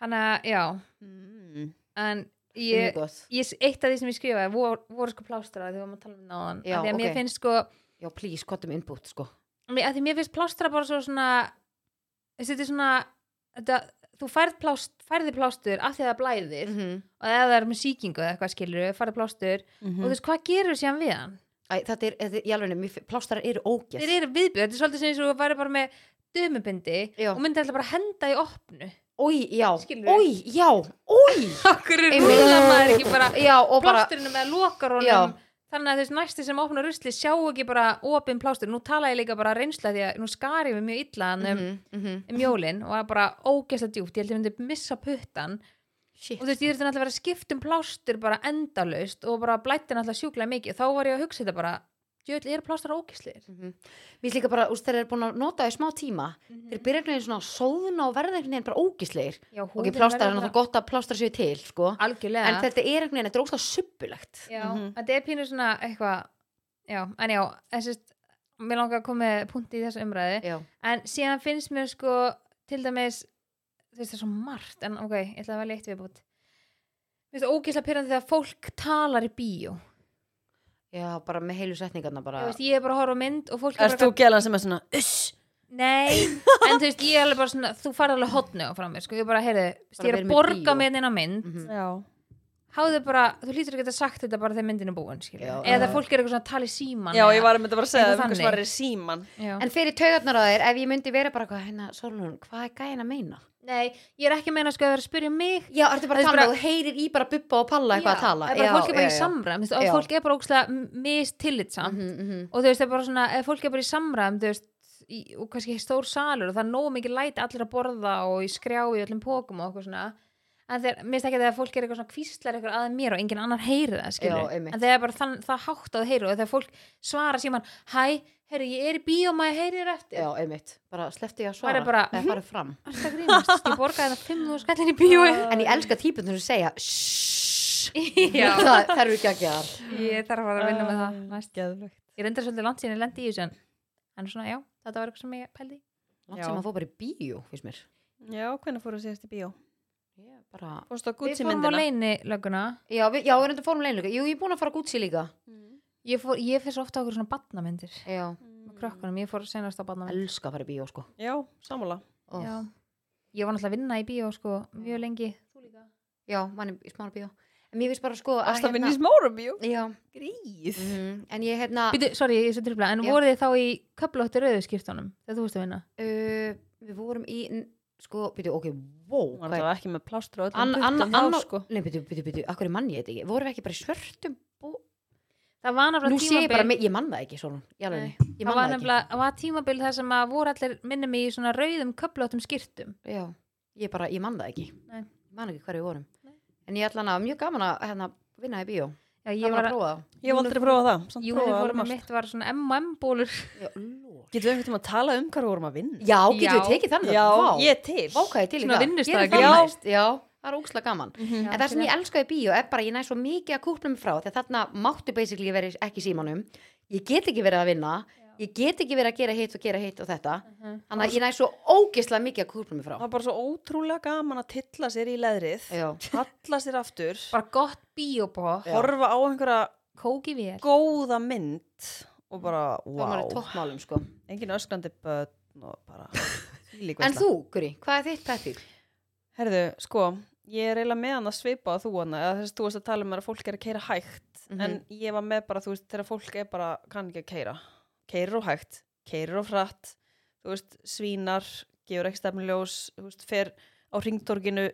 [SPEAKER 1] hann að, já,
[SPEAKER 3] Mm.
[SPEAKER 1] en
[SPEAKER 2] Mjög
[SPEAKER 1] ég,
[SPEAKER 2] gott.
[SPEAKER 1] ég, eitt af því sem ég skrifaði voru, voru sko plástraði þegar við varum að tala um náðan
[SPEAKER 2] Já,
[SPEAKER 1] af því að mér
[SPEAKER 2] ok.
[SPEAKER 1] finnst sko
[SPEAKER 2] Já, please, kottum input, sko
[SPEAKER 1] mér- af því mér finnst plástra bara svo svona þessi, þetta er svona þetta, þú færð plást, færði plástur af því að það blæðir
[SPEAKER 2] -hmm.
[SPEAKER 1] og ef það er með sýkingu eða eitthvað skilur færði plástur
[SPEAKER 2] Mm.
[SPEAKER 3] Mhm.
[SPEAKER 1] og þú veist hvað gerur síðan við hann
[SPEAKER 2] Æ, þetta er, þetta er, ég alveg nefnir, plástarar eru ógeð
[SPEAKER 1] þeir eru viðbjöð, þetta er svolítið sem eins og þú væri bara með dömubindi
[SPEAKER 2] Já.
[SPEAKER 1] og myndi alltaf bara henda í opnu
[SPEAKER 2] Ói, já,
[SPEAKER 1] Skilur við?
[SPEAKER 2] ói, já, ói
[SPEAKER 1] okkur er
[SPEAKER 2] Einmitt.
[SPEAKER 1] rúla maður ekki bara
[SPEAKER 2] Já, og bara,
[SPEAKER 1] plásturinn með lokarónum
[SPEAKER 2] Já.
[SPEAKER 1] þannig að þessi næsti sem opnar rusli sjá ekki bara opin plástur, nú tala ég líka bara reynsla því að nú skari við mjög illa mm
[SPEAKER 2] mm -hmm.
[SPEAKER 1] um jólin og það er bara ógeðslega djúpt, ég held ég myndi missa puttan
[SPEAKER 2] shit
[SPEAKER 1] og þú veist, ég þurfti náttúrulega að vera að skipta um plástur bara endalaust og bara blætti náttúrulega sjúklega mikið þá var ég að hugsa þetta bara, djöðl, eru plástur ógeðslir?
[SPEAKER 2] Mér líka bara, úst, þeir eru búin að nota í smá tíma
[SPEAKER 1] Mhm.
[SPEAKER 2] Þeir byrja einhvern veginn svona að sóðuna og verða einhvern veginn bara ógisleir
[SPEAKER 1] Já,
[SPEAKER 2] Ok,
[SPEAKER 1] húðin verður
[SPEAKER 2] plástarar, þannig að það
[SPEAKER 1] bara-
[SPEAKER 2] er gott að plástara séu til, sko
[SPEAKER 1] algjörlega,
[SPEAKER 2] En þetta er einhvern veginn, þetta er óslega suppulegt
[SPEAKER 1] já,
[SPEAKER 3] Mhm.
[SPEAKER 1] þetta er pínu svona eitthvað, já, en já þessi, mér langar að koma með punkt í þessu umræði
[SPEAKER 2] Já,
[SPEAKER 1] en síðan finnst mér sko til dæmis þú veist það er svo margt en ok, ég ætla að velja eitt viðbútt Mér finnst það ógeðslega pyrrandi þegar fólk talar í bíó.
[SPEAKER 2] já, bara með heilu setningarna
[SPEAKER 1] Ég,
[SPEAKER 2] bara
[SPEAKER 1] veist, ég er bara að horfa á mynd og fólk er bara
[SPEAKER 3] Erst þú gælan sem er svona, uss,
[SPEAKER 1] Nei, en þú veist, ég er alveg bara svona þú farið alveg hotni á frá mér, sko, ég bara, heyrðu ég
[SPEAKER 2] Bara
[SPEAKER 1] er
[SPEAKER 2] verið
[SPEAKER 1] að
[SPEAKER 2] með
[SPEAKER 1] borga
[SPEAKER 2] bíó.
[SPEAKER 1] með inn á mynd
[SPEAKER 2] Mhm.
[SPEAKER 3] já,
[SPEAKER 1] háðu bara, þú lítur ekki að sagt þetta bara þegar myndin er búin, skilja,
[SPEAKER 2] Já,
[SPEAKER 1] eða
[SPEAKER 2] já.
[SPEAKER 1] þegar fólk er eitthvað svona að tala í síman
[SPEAKER 3] já, ég var að mynda bara að segja
[SPEAKER 1] Eitthvað
[SPEAKER 3] það, einhvers
[SPEAKER 1] þannig.
[SPEAKER 3] var í síman
[SPEAKER 1] var
[SPEAKER 2] En fyrir taugarnar á þér, ef ég myndi vera bara eitthvað, hérna, Sólun, hvað er gæin að meina?
[SPEAKER 1] Nei, ég er ekki að meina, sko, að vera að spyrja mig
[SPEAKER 2] Já, ertu bara
[SPEAKER 1] Það er
[SPEAKER 2] að tala
[SPEAKER 1] bara-
[SPEAKER 2] og heyrir í bara bubba og palla eitthvað að tala
[SPEAKER 1] eða bara
[SPEAKER 2] já,
[SPEAKER 1] fólk er bara
[SPEAKER 2] já,
[SPEAKER 1] í
[SPEAKER 2] já.
[SPEAKER 1] samræðum, þú veist,
[SPEAKER 2] Já.
[SPEAKER 1] og fólk er bara ógstlega mistillitsamt
[SPEAKER 2] Mhm, mhm.
[SPEAKER 1] og þú veist, það er bara svona, ef fólk er bara í samræðum, þú veist veist, í, og kannski stór salur og það er nógu mikið læti allir að borða og í skrjá í öllum pókum og okkur svona en þeir, mér finnst ekki að þegar fólk er eitthvað svona kvíslar eitthvað að mér og enginn annar heyri það skilur
[SPEAKER 2] Já, einmitt.
[SPEAKER 1] en þegar bara þann, það hátt að heyri og þegar fólk svara síman hæ, herri, ég er í bíó maður heyrir eftir
[SPEAKER 2] já, einmitt, bara mhm. sleppti ég að svara
[SPEAKER 1] Bara- bara-
[SPEAKER 2] eða farið fram
[SPEAKER 1] alltaf grínast, ég borgaði það 5.000 skallin í bíói
[SPEAKER 2] en ég elska típun sem segja "Shh."
[SPEAKER 1] Já.
[SPEAKER 2] það það eru ekki að gera
[SPEAKER 1] ég þarf að fara að vinna með
[SPEAKER 3] Mm.
[SPEAKER 1] það næst
[SPEAKER 3] Geðvögt.
[SPEAKER 1] ég reyndar svolítið langt síðan ég lendi í þessu en, en svona já, þetta var eitthvað sem ég pældi í.
[SPEAKER 2] langt
[SPEAKER 3] Já.
[SPEAKER 2] sem að fór bara í bíó, finnst mér
[SPEAKER 3] Já, hvernig fóru síðast í bíó?
[SPEAKER 2] Ég bara
[SPEAKER 3] Fórstu á
[SPEAKER 1] við
[SPEAKER 3] Gucci
[SPEAKER 1] fórum á
[SPEAKER 3] myndina?
[SPEAKER 1] leini lögguna
[SPEAKER 2] já, við, já, við erum þetta fórum leinleika jú, ég er búin að fara Gucci líka
[SPEAKER 3] Mm.
[SPEAKER 1] ég, fór, ég fyrst ofta okkur svona badnamyndir
[SPEAKER 2] já,
[SPEAKER 1] með krökkunum, ég fór senast á badnamyndir
[SPEAKER 2] elska að fara í bíó sko
[SPEAKER 3] Já, sammála.
[SPEAKER 2] Ó.
[SPEAKER 1] já. ég var náttúrulega að vinna í bíó sko, mjög lengi
[SPEAKER 2] já, manni í smára bíó en mér finnst bara sko að
[SPEAKER 3] Alltaf vinni í
[SPEAKER 2] hérna-
[SPEAKER 3] smára bíó.
[SPEAKER 2] já,
[SPEAKER 3] Gríð.
[SPEAKER 2] mhm, en ég hérna
[SPEAKER 1] Býtu, sorry, ég er svo tripla, en
[SPEAKER 2] Já.
[SPEAKER 1] voruð þið þá í köplóttu rauðu skiptunum, þegar þú veist að vinna
[SPEAKER 2] uh, við vorum í n- sko, byrju, ok, wow
[SPEAKER 3] Hún var alltaf ekki með plástur á öllum
[SPEAKER 2] Ann, ann,
[SPEAKER 3] puttum
[SPEAKER 2] ann,
[SPEAKER 3] þá, sko.
[SPEAKER 2] nei, byrju, byrju, byrju, akkur er mann ég þetta ekki vorum við ekki bara í svörtum bú
[SPEAKER 1] það var
[SPEAKER 2] nú
[SPEAKER 1] nefnilega
[SPEAKER 2] sé ég bara,
[SPEAKER 1] tímabil
[SPEAKER 2] með- ég mann það ekki svona, ég alveg, ég
[SPEAKER 1] það
[SPEAKER 2] mann
[SPEAKER 1] var
[SPEAKER 2] það ekki
[SPEAKER 1] nefnilega, það var tímabil þar sem að voru allir minnum í svona rauðum köplóttum skirtum
[SPEAKER 2] já, ég bara, ég mann það ekki
[SPEAKER 1] Nei.
[SPEAKER 2] ég mann ekki hverju við vorum
[SPEAKER 1] Nei.
[SPEAKER 2] en ég ætla að, mjög gaman að hérna, vinna í bíó
[SPEAKER 1] já, ég
[SPEAKER 2] gaman
[SPEAKER 1] var
[SPEAKER 2] að
[SPEAKER 1] að,
[SPEAKER 2] prófa það
[SPEAKER 3] Ég hef aldrei prófað það. Samt
[SPEAKER 1] jú,
[SPEAKER 3] prófað
[SPEAKER 1] þið
[SPEAKER 3] alveg
[SPEAKER 1] fórum
[SPEAKER 3] margt.
[SPEAKER 1] að mitt var svona M&M bólur
[SPEAKER 2] já, lord.
[SPEAKER 3] Getum við einhvern veginn að tala um hvað við vorum að vinna?
[SPEAKER 2] já, getur
[SPEAKER 1] Já.
[SPEAKER 2] við tekið þannig
[SPEAKER 3] Já,
[SPEAKER 2] Vá.
[SPEAKER 3] ég er til.
[SPEAKER 2] Vá, hvað ég er til í
[SPEAKER 1] Svona
[SPEAKER 2] það.
[SPEAKER 1] vinnustaður.
[SPEAKER 2] Ég er
[SPEAKER 3] Já.
[SPEAKER 2] það næst, já, það er ókslega gaman
[SPEAKER 1] Já,
[SPEAKER 2] en það sem
[SPEAKER 1] fyrir.
[SPEAKER 2] ég elskaði bíó er bara að ég næ svo mikið að kúpla mig frá því að þarna máttu basically verið ekki í símanum ég get ekki verið að vinna ég get ekki verið að gera hitt og gera hitt og þetta
[SPEAKER 1] Mhm.
[SPEAKER 2] þannig að ég næ svo ógeðslega mikið að kúpla mig frá
[SPEAKER 3] Það var bara svo ótrúlega gaman að tilla sér í leðrið,
[SPEAKER 2] já,
[SPEAKER 3] halla sér aftur,
[SPEAKER 1] bara gott bíóbók
[SPEAKER 2] Já.
[SPEAKER 3] horfa á einhverja
[SPEAKER 1] kóki vel
[SPEAKER 3] góða mynd og bara,
[SPEAKER 2] það var í
[SPEAKER 3] wow,
[SPEAKER 2] toppmálum sko
[SPEAKER 3] engin öskrandi börn og bara þvílík
[SPEAKER 2] en
[SPEAKER 3] veisla.
[SPEAKER 2] þú, Guri, hvað er þitt peppið?
[SPEAKER 3] Herðu, sko, ég er eiginlega með hann að svipa að þú hann eða þess að þú varst að tala um að fólk er að keira hægt
[SPEAKER 2] Mhm.
[SPEAKER 3] en ég var með bara, þú veist, þegar fólk er bara kann ekki að keira, keirir og hægt keirir og frætt, þú veist svínar, gefur ekki stefnuljós þú veist, fer á ringtorginu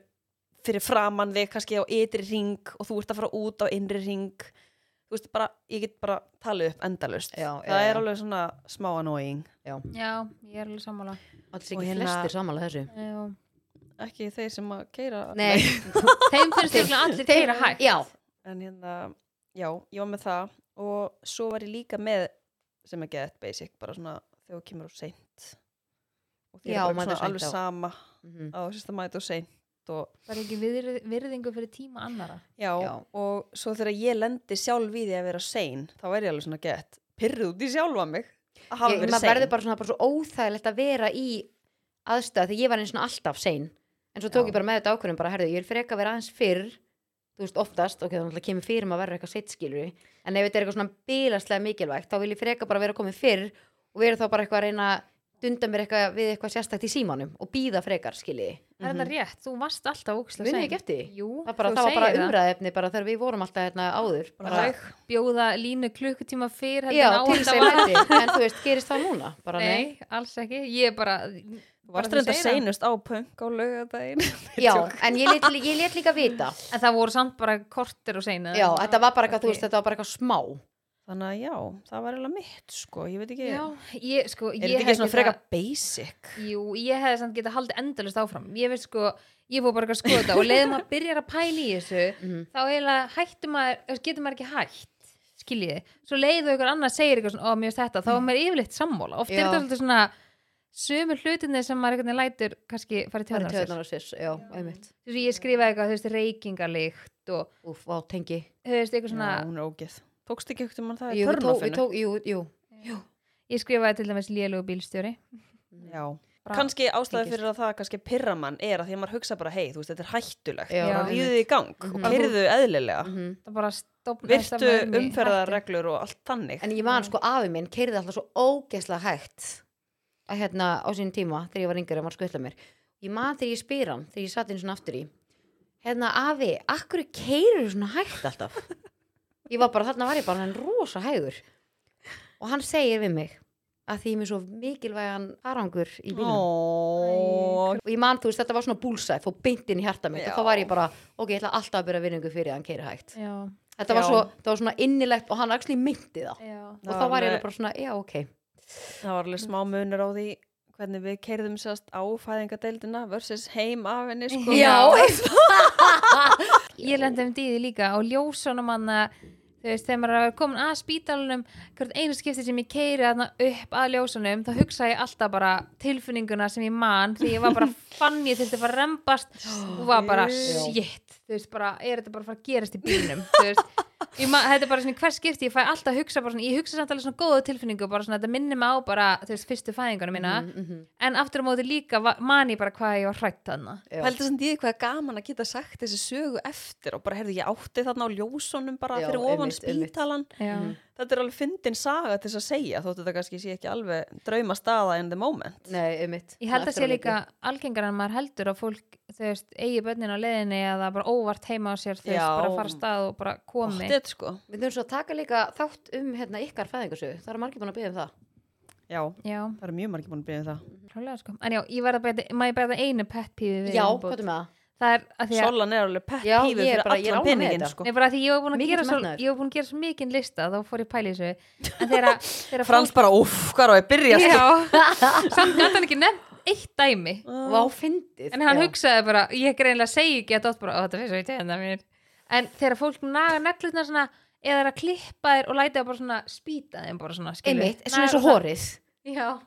[SPEAKER 3] fyrir framann þig, kannski á ytri ring og þú ert að fara út á innri ring þú veist, bara, ég get bara talið upp endalust,
[SPEAKER 2] Já, já,
[SPEAKER 3] það er
[SPEAKER 2] já.
[SPEAKER 3] alveg svona smá annoying,
[SPEAKER 1] já, ég er alveg sammála Ehm,
[SPEAKER 2] alls
[SPEAKER 3] Og
[SPEAKER 2] ekki
[SPEAKER 3] hérna-
[SPEAKER 2] flestir samanlega þessu
[SPEAKER 1] Já.
[SPEAKER 3] ekki þeir sem að keira
[SPEAKER 2] nei,
[SPEAKER 1] þeim finnst ekki allir
[SPEAKER 2] þeir-
[SPEAKER 1] keira hægt
[SPEAKER 2] já,
[SPEAKER 3] en hérna, já, ég var með það og svo var ég líka með sem er gett basic, bara svona þegar þú kemur og seint og því
[SPEAKER 2] Já,
[SPEAKER 3] er bara
[SPEAKER 2] mæta
[SPEAKER 3] svona
[SPEAKER 2] seint
[SPEAKER 3] alveg
[SPEAKER 2] á-
[SPEAKER 3] sama
[SPEAKER 2] Mhm.
[SPEAKER 3] á sérst að mæta og seint og,
[SPEAKER 1] bara ekki virð- virðingu fyrir tíma annara
[SPEAKER 3] já,
[SPEAKER 2] Já.
[SPEAKER 3] og svo þegar ég lendi sjálf í því að vera sein, þá er ég alveg svona gett pyrruð út í sjálfa mig að hafa
[SPEAKER 2] ég,
[SPEAKER 3] verið
[SPEAKER 2] maður
[SPEAKER 3] sein
[SPEAKER 2] verður bara svona bara svo óþægilegt að vera í aðstöð því ég var eins og alltaf sein en svo tók
[SPEAKER 3] Já.
[SPEAKER 2] ég bara með þetta ákvörðum bara, herðu, ég vil freka vera aðeins fyrr þú veist, oftast, ok, þannig að kemur fyrir maður verður eitthvað sitt skilur en ef þetta er eitthvað svona bílaslega mikilvægt þá vil ég freka bara vera komið fyrr og vera þá bara eitthvað að reyna að dunda mér eitthvað við eitthvað sérstakt í símanum og býða frekar skiljiði,
[SPEAKER 1] það er þetta rétt, þú varst alltaf ókslega
[SPEAKER 2] munið Mhm. ekki eftir því?
[SPEAKER 1] Jú,
[SPEAKER 2] það, bara,
[SPEAKER 1] þú
[SPEAKER 2] það var bara
[SPEAKER 1] segir
[SPEAKER 2] umræðefni bara þegar við vorum alltaf hérna áður
[SPEAKER 3] Bara hérna
[SPEAKER 2] bara,
[SPEAKER 3] hæg.
[SPEAKER 1] bjóða línu klukkutíma fyrr heldur
[SPEAKER 2] já,
[SPEAKER 1] en á
[SPEAKER 2] til
[SPEAKER 1] þetta
[SPEAKER 2] þess að
[SPEAKER 1] var.
[SPEAKER 2] ég læti en þú veist, gerist það núna bara, nei,
[SPEAKER 1] Nei, alls ekki, ég er bara
[SPEAKER 3] Þú varst
[SPEAKER 1] bara þú
[SPEAKER 3] reynda
[SPEAKER 1] segir það.
[SPEAKER 3] seinust á punk á laugardaginn
[SPEAKER 2] já, en ég let, ég let líka vita
[SPEAKER 1] En það voru samt bara kortir og seina
[SPEAKER 2] Já, þetta var bara eitthvað, þú
[SPEAKER 1] ok.
[SPEAKER 2] veist, þetta var bara eitthvað smá
[SPEAKER 3] þannig að já, það var eiginlega mitt sko, ég veit ekki
[SPEAKER 1] Já, ég sko
[SPEAKER 3] er
[SPEAKER 1] ég
[SPEAKER 3] þetta
[SPEAKER 1] hefði
[SPEAKER 3] ekki svona
[SPEAKER 1] getað-
[SPEAKER 3] freka basic
[SPEAKER 1] Jú, ég hefði samt getað haldið endalust áfram Ég veist sko, ég fór bara eitthvað að skoða þetta og leiðum að byrja að pæla í þessu
[SPEAKER 2] Mhm.
[SPEAKER 1] þá eiginlega hættum maður, þú veist, getur maður ekki hætt skiljiði, svo leiðu ykkur annað segir eitthvað svona, ó, mér finnst þetta, þá er maður yfirleitt sammála oft er
[SPEAKER 2] Já.
[SPEAKER 1] þetta svolítið svona sömu hlutinni sem maður einhvern veginn lætur kannski farið
[SPEAKER 2] Það
[SPEAKER 1] tjóðan
[SPEAKER 2] er
[SPEAKER 1] á sér
[SPEAKER 2] tjóðnar og sér, já, einmitt
[SPEAKER 1] Þú veist, ég skrifaði eitthvað, þú veist, reykingarlykt og
[SPEAKER 2] Úf, á, tengi
[SPEAKER 1] þú veist, eitthvað svona
[SPEAKER 3] já, hún er ógeð tókst ekki ekkert um hann það í
[SPEAKER 2] Jú, við tók, við
[SPEAKER 3] törnofinu
[SPEAKER 2] tók, jú, jú
[SPEAKER 1] ég skrifaði til dæmis lélugu bílstjóri
[SPEAKER 3] Já.
[SPEAKER 1] Bra-
[SPEAKER 3] kannski ástæði
[SPEAKER 2] Tengist.
[SPEAKER 3] fyrir að það kannski pyrra mann er að því að maður hugsa bara hei, þú veist, þetta er hættulegt
[SPEAKER 2] Já,
[SPEAKER 3] bara
[SPEAKER 1] einmitt.
[SPEAKER 3] ríðu í gang
[SPEAKER 2] Mhm.
[SPEAKER 3] og kyrðu eðlilega
[SPEAKER 2] mm
[SPEAKER 1] það bara stofnaði
[SPEAKER 3] virtu umferðarreglur og allt þannig
[SPEAKER 2] En ég man, sko, afi minn keirði alltaf svo ógeðslega hægt að hérna á sínum tíma, þegar ég var yngri að var skvilla mér Ég man þegar ég spyr hann, þegar ég satt einn svona aftur í Hérna, afi, akkur keirir svona hægt alltaf? Ég var bara, þarna var ég bara hann rosa hægur Og hann segir við mig að því ég er með svo mikilvægan farangur í bílum
[SPEAKER 3] Ó,
[SPEAKER 2] og ég man þú veist þetta var svona búlsæð fór beint inn í hjarta mitt og
[SPEAKER 3] Já.
[SPEAKER 2] þá var ég bara ok, ég ætla alltaf að byrja vinningu fyrir að hann keiri hægt
[SPEAKER 1] já,
[SPEAKER 2] þetta var,
[SPEAKER 3] Já.
[SPEAKER 2] svo, það var svona innilegt og hann axli myndi það
[SPEAKER 1] já,
[SPEAKER 2] og
[SPEAKER 3] Það
[SPEAKER 2] þá
[SPEAKER 3] var
[SPEAKER 2] var ég
[SPEAKER 3] alveg-
[SPEAKER 2] bara svona, já ok
[SPEAKER 3] það var alveg smá munur á því hvernig við keirðum sérst á fæðingadeildina versus heim af henni sko.
[SPEAKER 1] ég lendi um dýði líka á ljósunum hann þú veist, þegar maður er komin að spítalunum hvert einu skipti sem ég keiri þarna upp að ljósunum, þá hugsa ég alltaf bara tilfinninguna sem ég man því ég var bara, fann ég þurfti að fara að rembast og var bara,
[SPEAKER 3] Já.
[SPEAKER 1] shit þú veist, bara, er þetta bara að fara að gerast í bílnum þú veist, ég man, þetta er bara svona hver skipti ég fæ alltaf að hugsa, bara svona, ég hugsa samt alveg svona góða tilfinningu, bara svona, þetta minnir mig á bara, þú veist, fyrstu fæðingunum mína
[SPEAKER 2] Mm.
[SPEAKER 1] en aftur á móti líka va- man ég bara hvað ég var hrætt þarna
[SPEAKER 2] Já.
[SPEAKER 3] Pældi samt í því hvað er gaman að geta sagt þessi sögu eftir og bara, heyrðu, ég átti þarna á ljósunum bara
[SPEAKER 2] Já,
[SPEAKER 3] fyrir ofan
[SPEAKER 2] einmitt, einmitt.
[SPEAKER 3] spítalan.
[SPEAKER 1] Já.
[SPEAKER 2] Mhm.
[SPEAKER 3] Þetta er alveg fyndin saga til þess að segja, þóttu þetta kannski sé ekki alveg drauma staða in the moment.
[SPEAKER 2] Nei, um mitt
[SPEAKER 1] Ég held að sé líka algengar en maður heldur að fólk, þú veist, eigi börnin á leiðinni eða bara óvart heima á sér, þú veist,
[SPEAKER 3] Já.
[SPEAKER 1] bara fara af stað og bara komi.
[SPEAKER 3] Óttið, sko.
[SPEAKER 2] Við þurfum svo að taka líka þátt um hérna, ykkar fæðingarsögu Það eru margir búin að byggja um það
[SPEAKER 3] Já,
[SPEAKER 1] Já,
[SPEAKER 3] það eru mjög margir búin að byrja um það.
[SPEAKER 1] hrálega sko. En já, ég verða bara, maður ég bara einu pet pífi við.
[SPEAKER 2] Mhm. Já,
[SPEAKER 1] í viðbót.
[SPEAKER 2] hvað er með það?
[SPEAKER 1] Það er að því að,
[SPEAKER 3] Solan er alveg pett
[SPEAKER 2] Já,
[SPEAKER 3] pífið
[SPEAKER 2] ég er
[SPEAKER 3] fyrir
[SPEAKER 2] bara- ég er
[SPEAKER 3] allan
[SPEAKER 2] ánægð með
[SPEAKER 3] peningin,
[SPEAKER 2] þetta.
[SPEAKER 3] sko.
[SPEAKER 1] nei bara að því ég var búin að
[SPEAKER 2] Mikill
[SPEAKER 1] gera svo,
[SPEAKER 2] metnaður.
[SPEAKER 1] ég var búin að gera svo mikinn lista þá fór ég pæli þessu. En þegar að, þegar að
[SPEAKER 3] Frans bara, uff, hvað er á að byrja, sko.
[SPEAKER 1] já, samt gæti hann ekki nefnt eitt dæmi.
[SPEAKER 3] Mm.
[SPEAKER 2] Vá, fyndið
[SPEAKER 1] En hann
[SPEAKER 2] Já.
[SPEAKER 1] hugsaði bara, ég greinlega segi ekki að dótt bara, "Ó, þetta finnst svo í tegna mér. En þegar fólk naga neglutna svona, eða er að klippa þér og læta þér bara svona spýta þeim bara svona, skilur.
[SPEAKER 2] Einmitt, svona
[SPEAKER 1] Naga-
[SPEAKER 2] eins og horið
[SPEAKER 1] Já.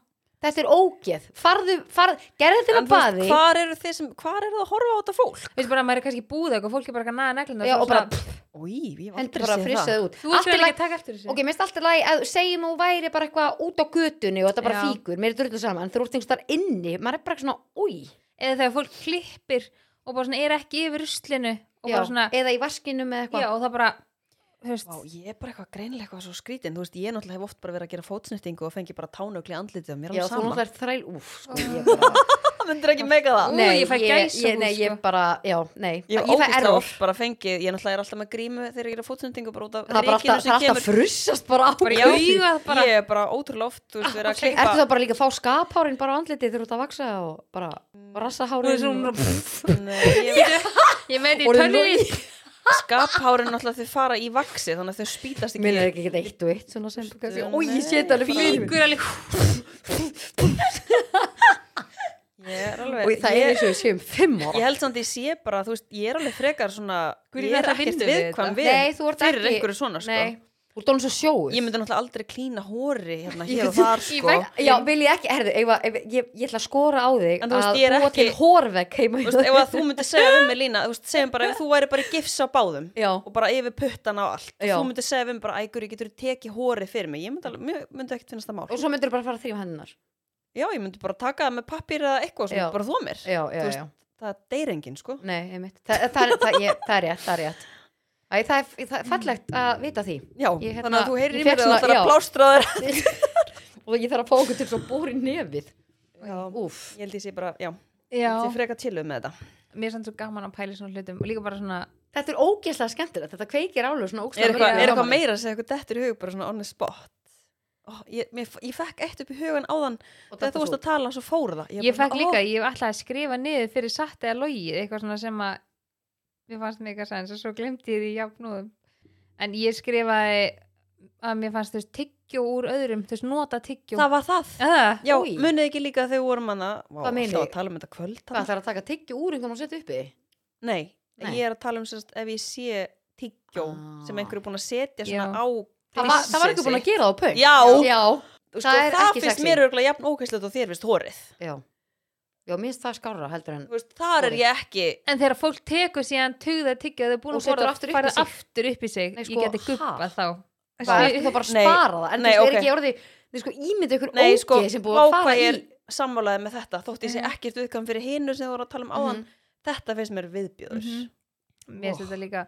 [SPEAKER 2] Þetta er ógeð Farðu, farð, gerðu þetta með
[SPEAKER 3] En þú veist,
[SPEAKER 2] baði
[SPEAKER 3] hvar eru þið sem, hvar eru það að horfa á þetta fólk?
[SPEAKER 1] Veist bara, maður er kannski búið eitthvað, fólk er bara að naga neglutna
[SPEAKER 2] Já, og bara
[SPEAKER 3] Úi, ég var
[SPEAKER 2] hendur bara frissaði út
[SPEAKER 1] Þú ert
[SPEAKER 2] Allt í
[SPEAKER 1] greinilega ekki
[SPEAKER 2] lagi-
[SPEAKER 1] að taka eftir þessu.
[SPEAKER 2] Ok, minnst alltaf lagi að segjum að þú væri bara eitthvað út á götunni og þetta bara
[SPEAKER 1] Já.
[SPEAKER 2] fíkur, mér er drullu saman, en þú ert einhvers þar inni, maður er bara svona, úi,
[SPEAKER 1] Eða þegar fólk klippir og bara svona er ekki yfir ruslinu og
[SPEAKER 2] já,
[SPEAKER 1] bara svona,
[SPEAKER 2] eða í vaskinum eða eitthvað.
[SPEAKER 1] já, og það bara, þú veist,
[SPEAKER 3] Vá, ég er bara eitthvað greinilega eitthvað svo skrítin Þú veist, ég náttúrulega hef oft bara verið að gera fótsnýttingu og fengi bara tánögli andlitið og mér er
[SPEAKER 2] Já, þú
[SPEAKER 3] alveg sama
[SPEAKER 2] náttúrulega er þræl, úf, sko, ég bara,
[SPEAKER 3] Það myndir ekki meika það
[SPEAKER 1] Ú,
[SPEAKER 2] nei,
[SPEAKER 1] ég fæ gæsahúð,
[SPEAKER 2] ég- Nei, ég
[SPEAKER 1] sko.
[SPEAKER 2] bara, já, nei,
[SPEAKER 3] Ég
[SPEAKER 2] ég
[SPEAKER 3] hef
[SPEAKER 2] fæ
[SPEAKER 3] ógæslega
[SPEAKER 2] error,
[SPEAKER 3] oft bara fengið Ég náttúrulega er alltaf með grímu þegar ég er að fótsnýttingu bara út af
[SPEAKER 2] það er bara
[SPEAKER 3] rykinu
[SPEAKER 2] alltaf, það er alltaf frussast bara á
[SPEAKER 1] bara
[SPEAKER 3] Já,
[SPEAKER 1] í augað bara. Ah,
[SPEAKER 3] Ég er bara ótrúlega oft, þú veist, verið að klippa
[SPEAKER 2] Ertu þá bara líka að fá skaphárin bara á andlitið þegar þú ert að vaksa og bara rassahárin
[SPEAKER 1] Mm. Þú veist, hún-
[SPEAKER 3] Nei, eh, ég veit ekki.
[SPEAKER 1] Ég með því
[SPEAKER 2] Og
[SPEAKER 1] tölvið.
[SPEAKER 3] Skaphárin náttúrulega þau fara í vaksi Þannig að þau spýtast
[SPEAKER 2] Minn er
[SPEAKER 3] ekki
[SPEAKER 2] ekki ekki eitt og eitt svona sem kannski,
[SPEAKER 3] Nei.
[SPEAKER 2] Új, ég sé þetta alveg fyrir mér.
[SPEAKER 1] Fíkur alveg.
[SPEAKER 3] Ég er
[SPEAKER 2] Og
[SPEAKER 3] alveg
[SPEAKER 2] það er eins og við séum fimm ára
[SPEAKER 3] Ég held samt að ég sé bara, þú veist, ég er alveg frekar svona,
[SPEAKER 1] Guð,
[SPEAKER 3] ég
[SPEAKER 1] ég
[SPEAKER 3] er
[SPEAKER 1] ætla að
[SPEAKER 3] ekkert
[SPEAKER 1] vinna við
[SPEAKER 3] viðkvæm
[SPEAKER 1] þetta.
[SPEAKER 3] við
[SPEAKER 2] Nei, þú ert
[SPEAKER 3] fyrir
[SPEAKER 2] ekki-
[SPEAKER 3] einhverju svona, sko.
[SPEAKER 2] Nei, þú ert alveg svo sjóð
[SPEAKER 3] Ég myndi náttúrulega aldrei klína hóri hérna hér og þar
[SPEAKER 1] Í
[SPEAKER 3] sko.
[SPEAKER 1] vegg-
[SPEAKER 2] Já, vil ég ekki, herðu, ef, ef, ég, ég ætla að skora á þig
[SPEAKER 3] En þú veist,
[SPEAKER 2] að
[SPEAKER 3] ég er
[SPEAKER 2] búa
[SPEAKER 3] ekki-
[SPEAKER 2] til hórvegg heima
[SPEAKER 3] Þú
[SPEAKER 2] í
[SPEAKER 3] veist, ef
[SPEAKER 2] þér.
[SPEAKER 3] að þú myndir segja við mig Lína, þú veist, segjum bara ef þú væri bara í gifs á báðum
[SPEAKER 2] Já.
[SPEAKER 3] og bara yfir puttana og allt.
[SPEAKER 2] Já.
[SPEAKER 3] Þú myndir segja við mig bara, ægur, ég getur tekið hóri fyrir mig. Ég myndi, alveg, mér myndi ekkert finnast það mál.
[SPEAKER 2] Og svo myndir þú bara fara þrjum hendunar
[SPEAKER 3] Já, ég myndi bara taka það með pappir eða eitthvað sem
[SPEAKER 2] Já.
[SPEAKER 3] bara þú mér.
[SPEAKER 2] Já, já,
[SPEAKER 3] Þú veist-
[SPEAKER 2] já
[SPEAKER 3] Það deyr enginn, sko.
[SPEAKER 2] Nei, ég mitt Þa, það, er- það, ég, það er rétt, það er rétt Æ, það, er, það er fallegt að vita því
[SPEAKER 3] Já,
[SPEAKER 2] Ég, hérna,
[SPEAKER 3] þannig að þú heyrir
[SPEAKER 2] ég
[SPEAKER 3] í
[SPEAKER 2] fékk
[SPEAKER 3] mér að
[SPEAKER 2] svona-
[SPEAKER 3] það er
[SPEAKER 2] já.
[SPEAKER 3] að plástra þér.
[SPEAKER 2] Og ég þarf að fá okkur til svo bóri nefið
[SPEAKER 3] Já,
[SPEAKER 2] Úf
[SPEAKER 3] ég held ég sé bara, já,
[SPEAKER 1] Já,
[SPEAKER 3] ég freka tiluð um með þetta.
[SPEAKER 1] mér er sann svo gaman að pæla í svona hlutum og líka bara svona,
[SPEAKER 2] Þetta er ógeðslega skemmtilegt, þetta kveikir álug svona ógeðslega
[SPEAKER 3] Er eitthvað,
[SPEAKER 2] mikið
[SPEAKER 3] er
[SPEAKER 2] gaman.
[SPEAKER 3] eitthvað meira sem eitthvað dettur í hug bara svona on the spot? Ó, ég, mér, ég fekk eitt upp í hugan áðan
[SPEAKER 2] Og
[SPEAKER 3] þegar þú
[SPEAKER 2] þetta
[SPEAKER 3] varst að tala svo fór það
[SPEAKER 1] ég,
[SPEAKER 3] bara
[SPEAKER 1] fekk
[SPEAKER 3] svona, ó,
[SPEAKER 1] líka, ég ætlaði að skrifa niður fyrir satt eða logið, eitthvað svona sem að mér fannst mega sæns og svo glemti ég því jafnúðum en ég skrifaði að mér fannst þú veist tyggjó úr öðrum, þú veist nota tyggjó
[SPEAKER 3] það var það
[SPEAKER 1] Það,
[SPEAKER 3] Já,
[SPEAKER 2] Új.
[SPEAKER 3] munið ekki líka þegar við vorum hana Vá,
[SPEAKER 2] Hvað meinið?
[SPEAKER 3] alltaf að tala um þetta kvöld
[SPEAKER 2] Hvað
[SPEAKER 3] hana.
[SPEAKER 2] ætlar að taka tyggju úr einhvern og setja uppi?
[SPEAKER 3] Nei,
[SPEAKER 2] Nei.
[SPEAKER 3] ég er að tala um sérst ef ég sé tyggjó
[SPEAKER 2] Ah.
[SPEAKER 3] sem einhverju búin að setja svona
[SPEAKER 1] Já.
[SPEAKER 3] á
[SPEAKER 2] Það var, það var ekki búin að gera það á pöng
[SPEAKER 3] Já.
[SPEAKER 2] Já,
[SPEAKER 3] Þú veist,
[SPEAKER 2] það
[SPEAKER 3] og
[SPEAKER 2] er
[SPEAKER 3] það
[SPEAKER 2] ekki
[SPEAKER 3] finnst
[SPEAKER 2] sexy.
[SPEAKER 3] mér örgulega jafn ókvæslegt og þér finnst hórið
[SPEAKER 2] já Já, minnst það skárra heldur en
[SPEAKER 3] Þú veist, þar er
[SPEAKER 2] Hárið.
[SPEAKER 3] ég ekki
[SPEAKER 1] en þegar fólk tekur síðan tugða tyggjó þau er búin
[SPEAKER 2] Og
[SPEAKER 1] að
[SPEAKER 2] setur
[SPEAKER 1] borða
[SPEAKER 2] aftur upp í
[SPEAKER 1] færið
[SPEAKER 2] sig.
[SPEAKER 1] aftur upp í sig
[SPEAKER 2] Nei,
[SPEAKER 1] ég
[SPEAKER 2] sko,
[SPEAKER 1] geti
[SPEAKER 2] ha?
[SPEAKER 1] guppað þá
[SPEAKER 2] Það
[SPEAKER 1] Þessi-
[SPEAKER 2] er það bara að
[SPEAKER 3] Nei.
[SPEAKER 2] spara það En
[SPEAKER 3] Nei,
[SPEAKER 2] þú veist, er
[SPEAKER 3] ok.
[SPEAKER 2] ekki orðið Þið sko ímynd ykkur
[SPEAKER 3] Nei, sko,
[SPEAKER 2] ógeð sem búið
[SPEAKER 3] vá
[SPEAKER 2] að
[SPEAKER 3] hvað
[SPEAKER 2] fara
[SPEAKER 3] ég
[SPEAKER 2] í Mhm.
[SPEAKER 3] er sammálaði með þetta þótt ég sé ekkert viðkvæm fyrir hinu sem þú voru að tala um áðan Þetta finnst mér viðbjöður
[SPEAKER 1] Mhm. mér finnst þetta líka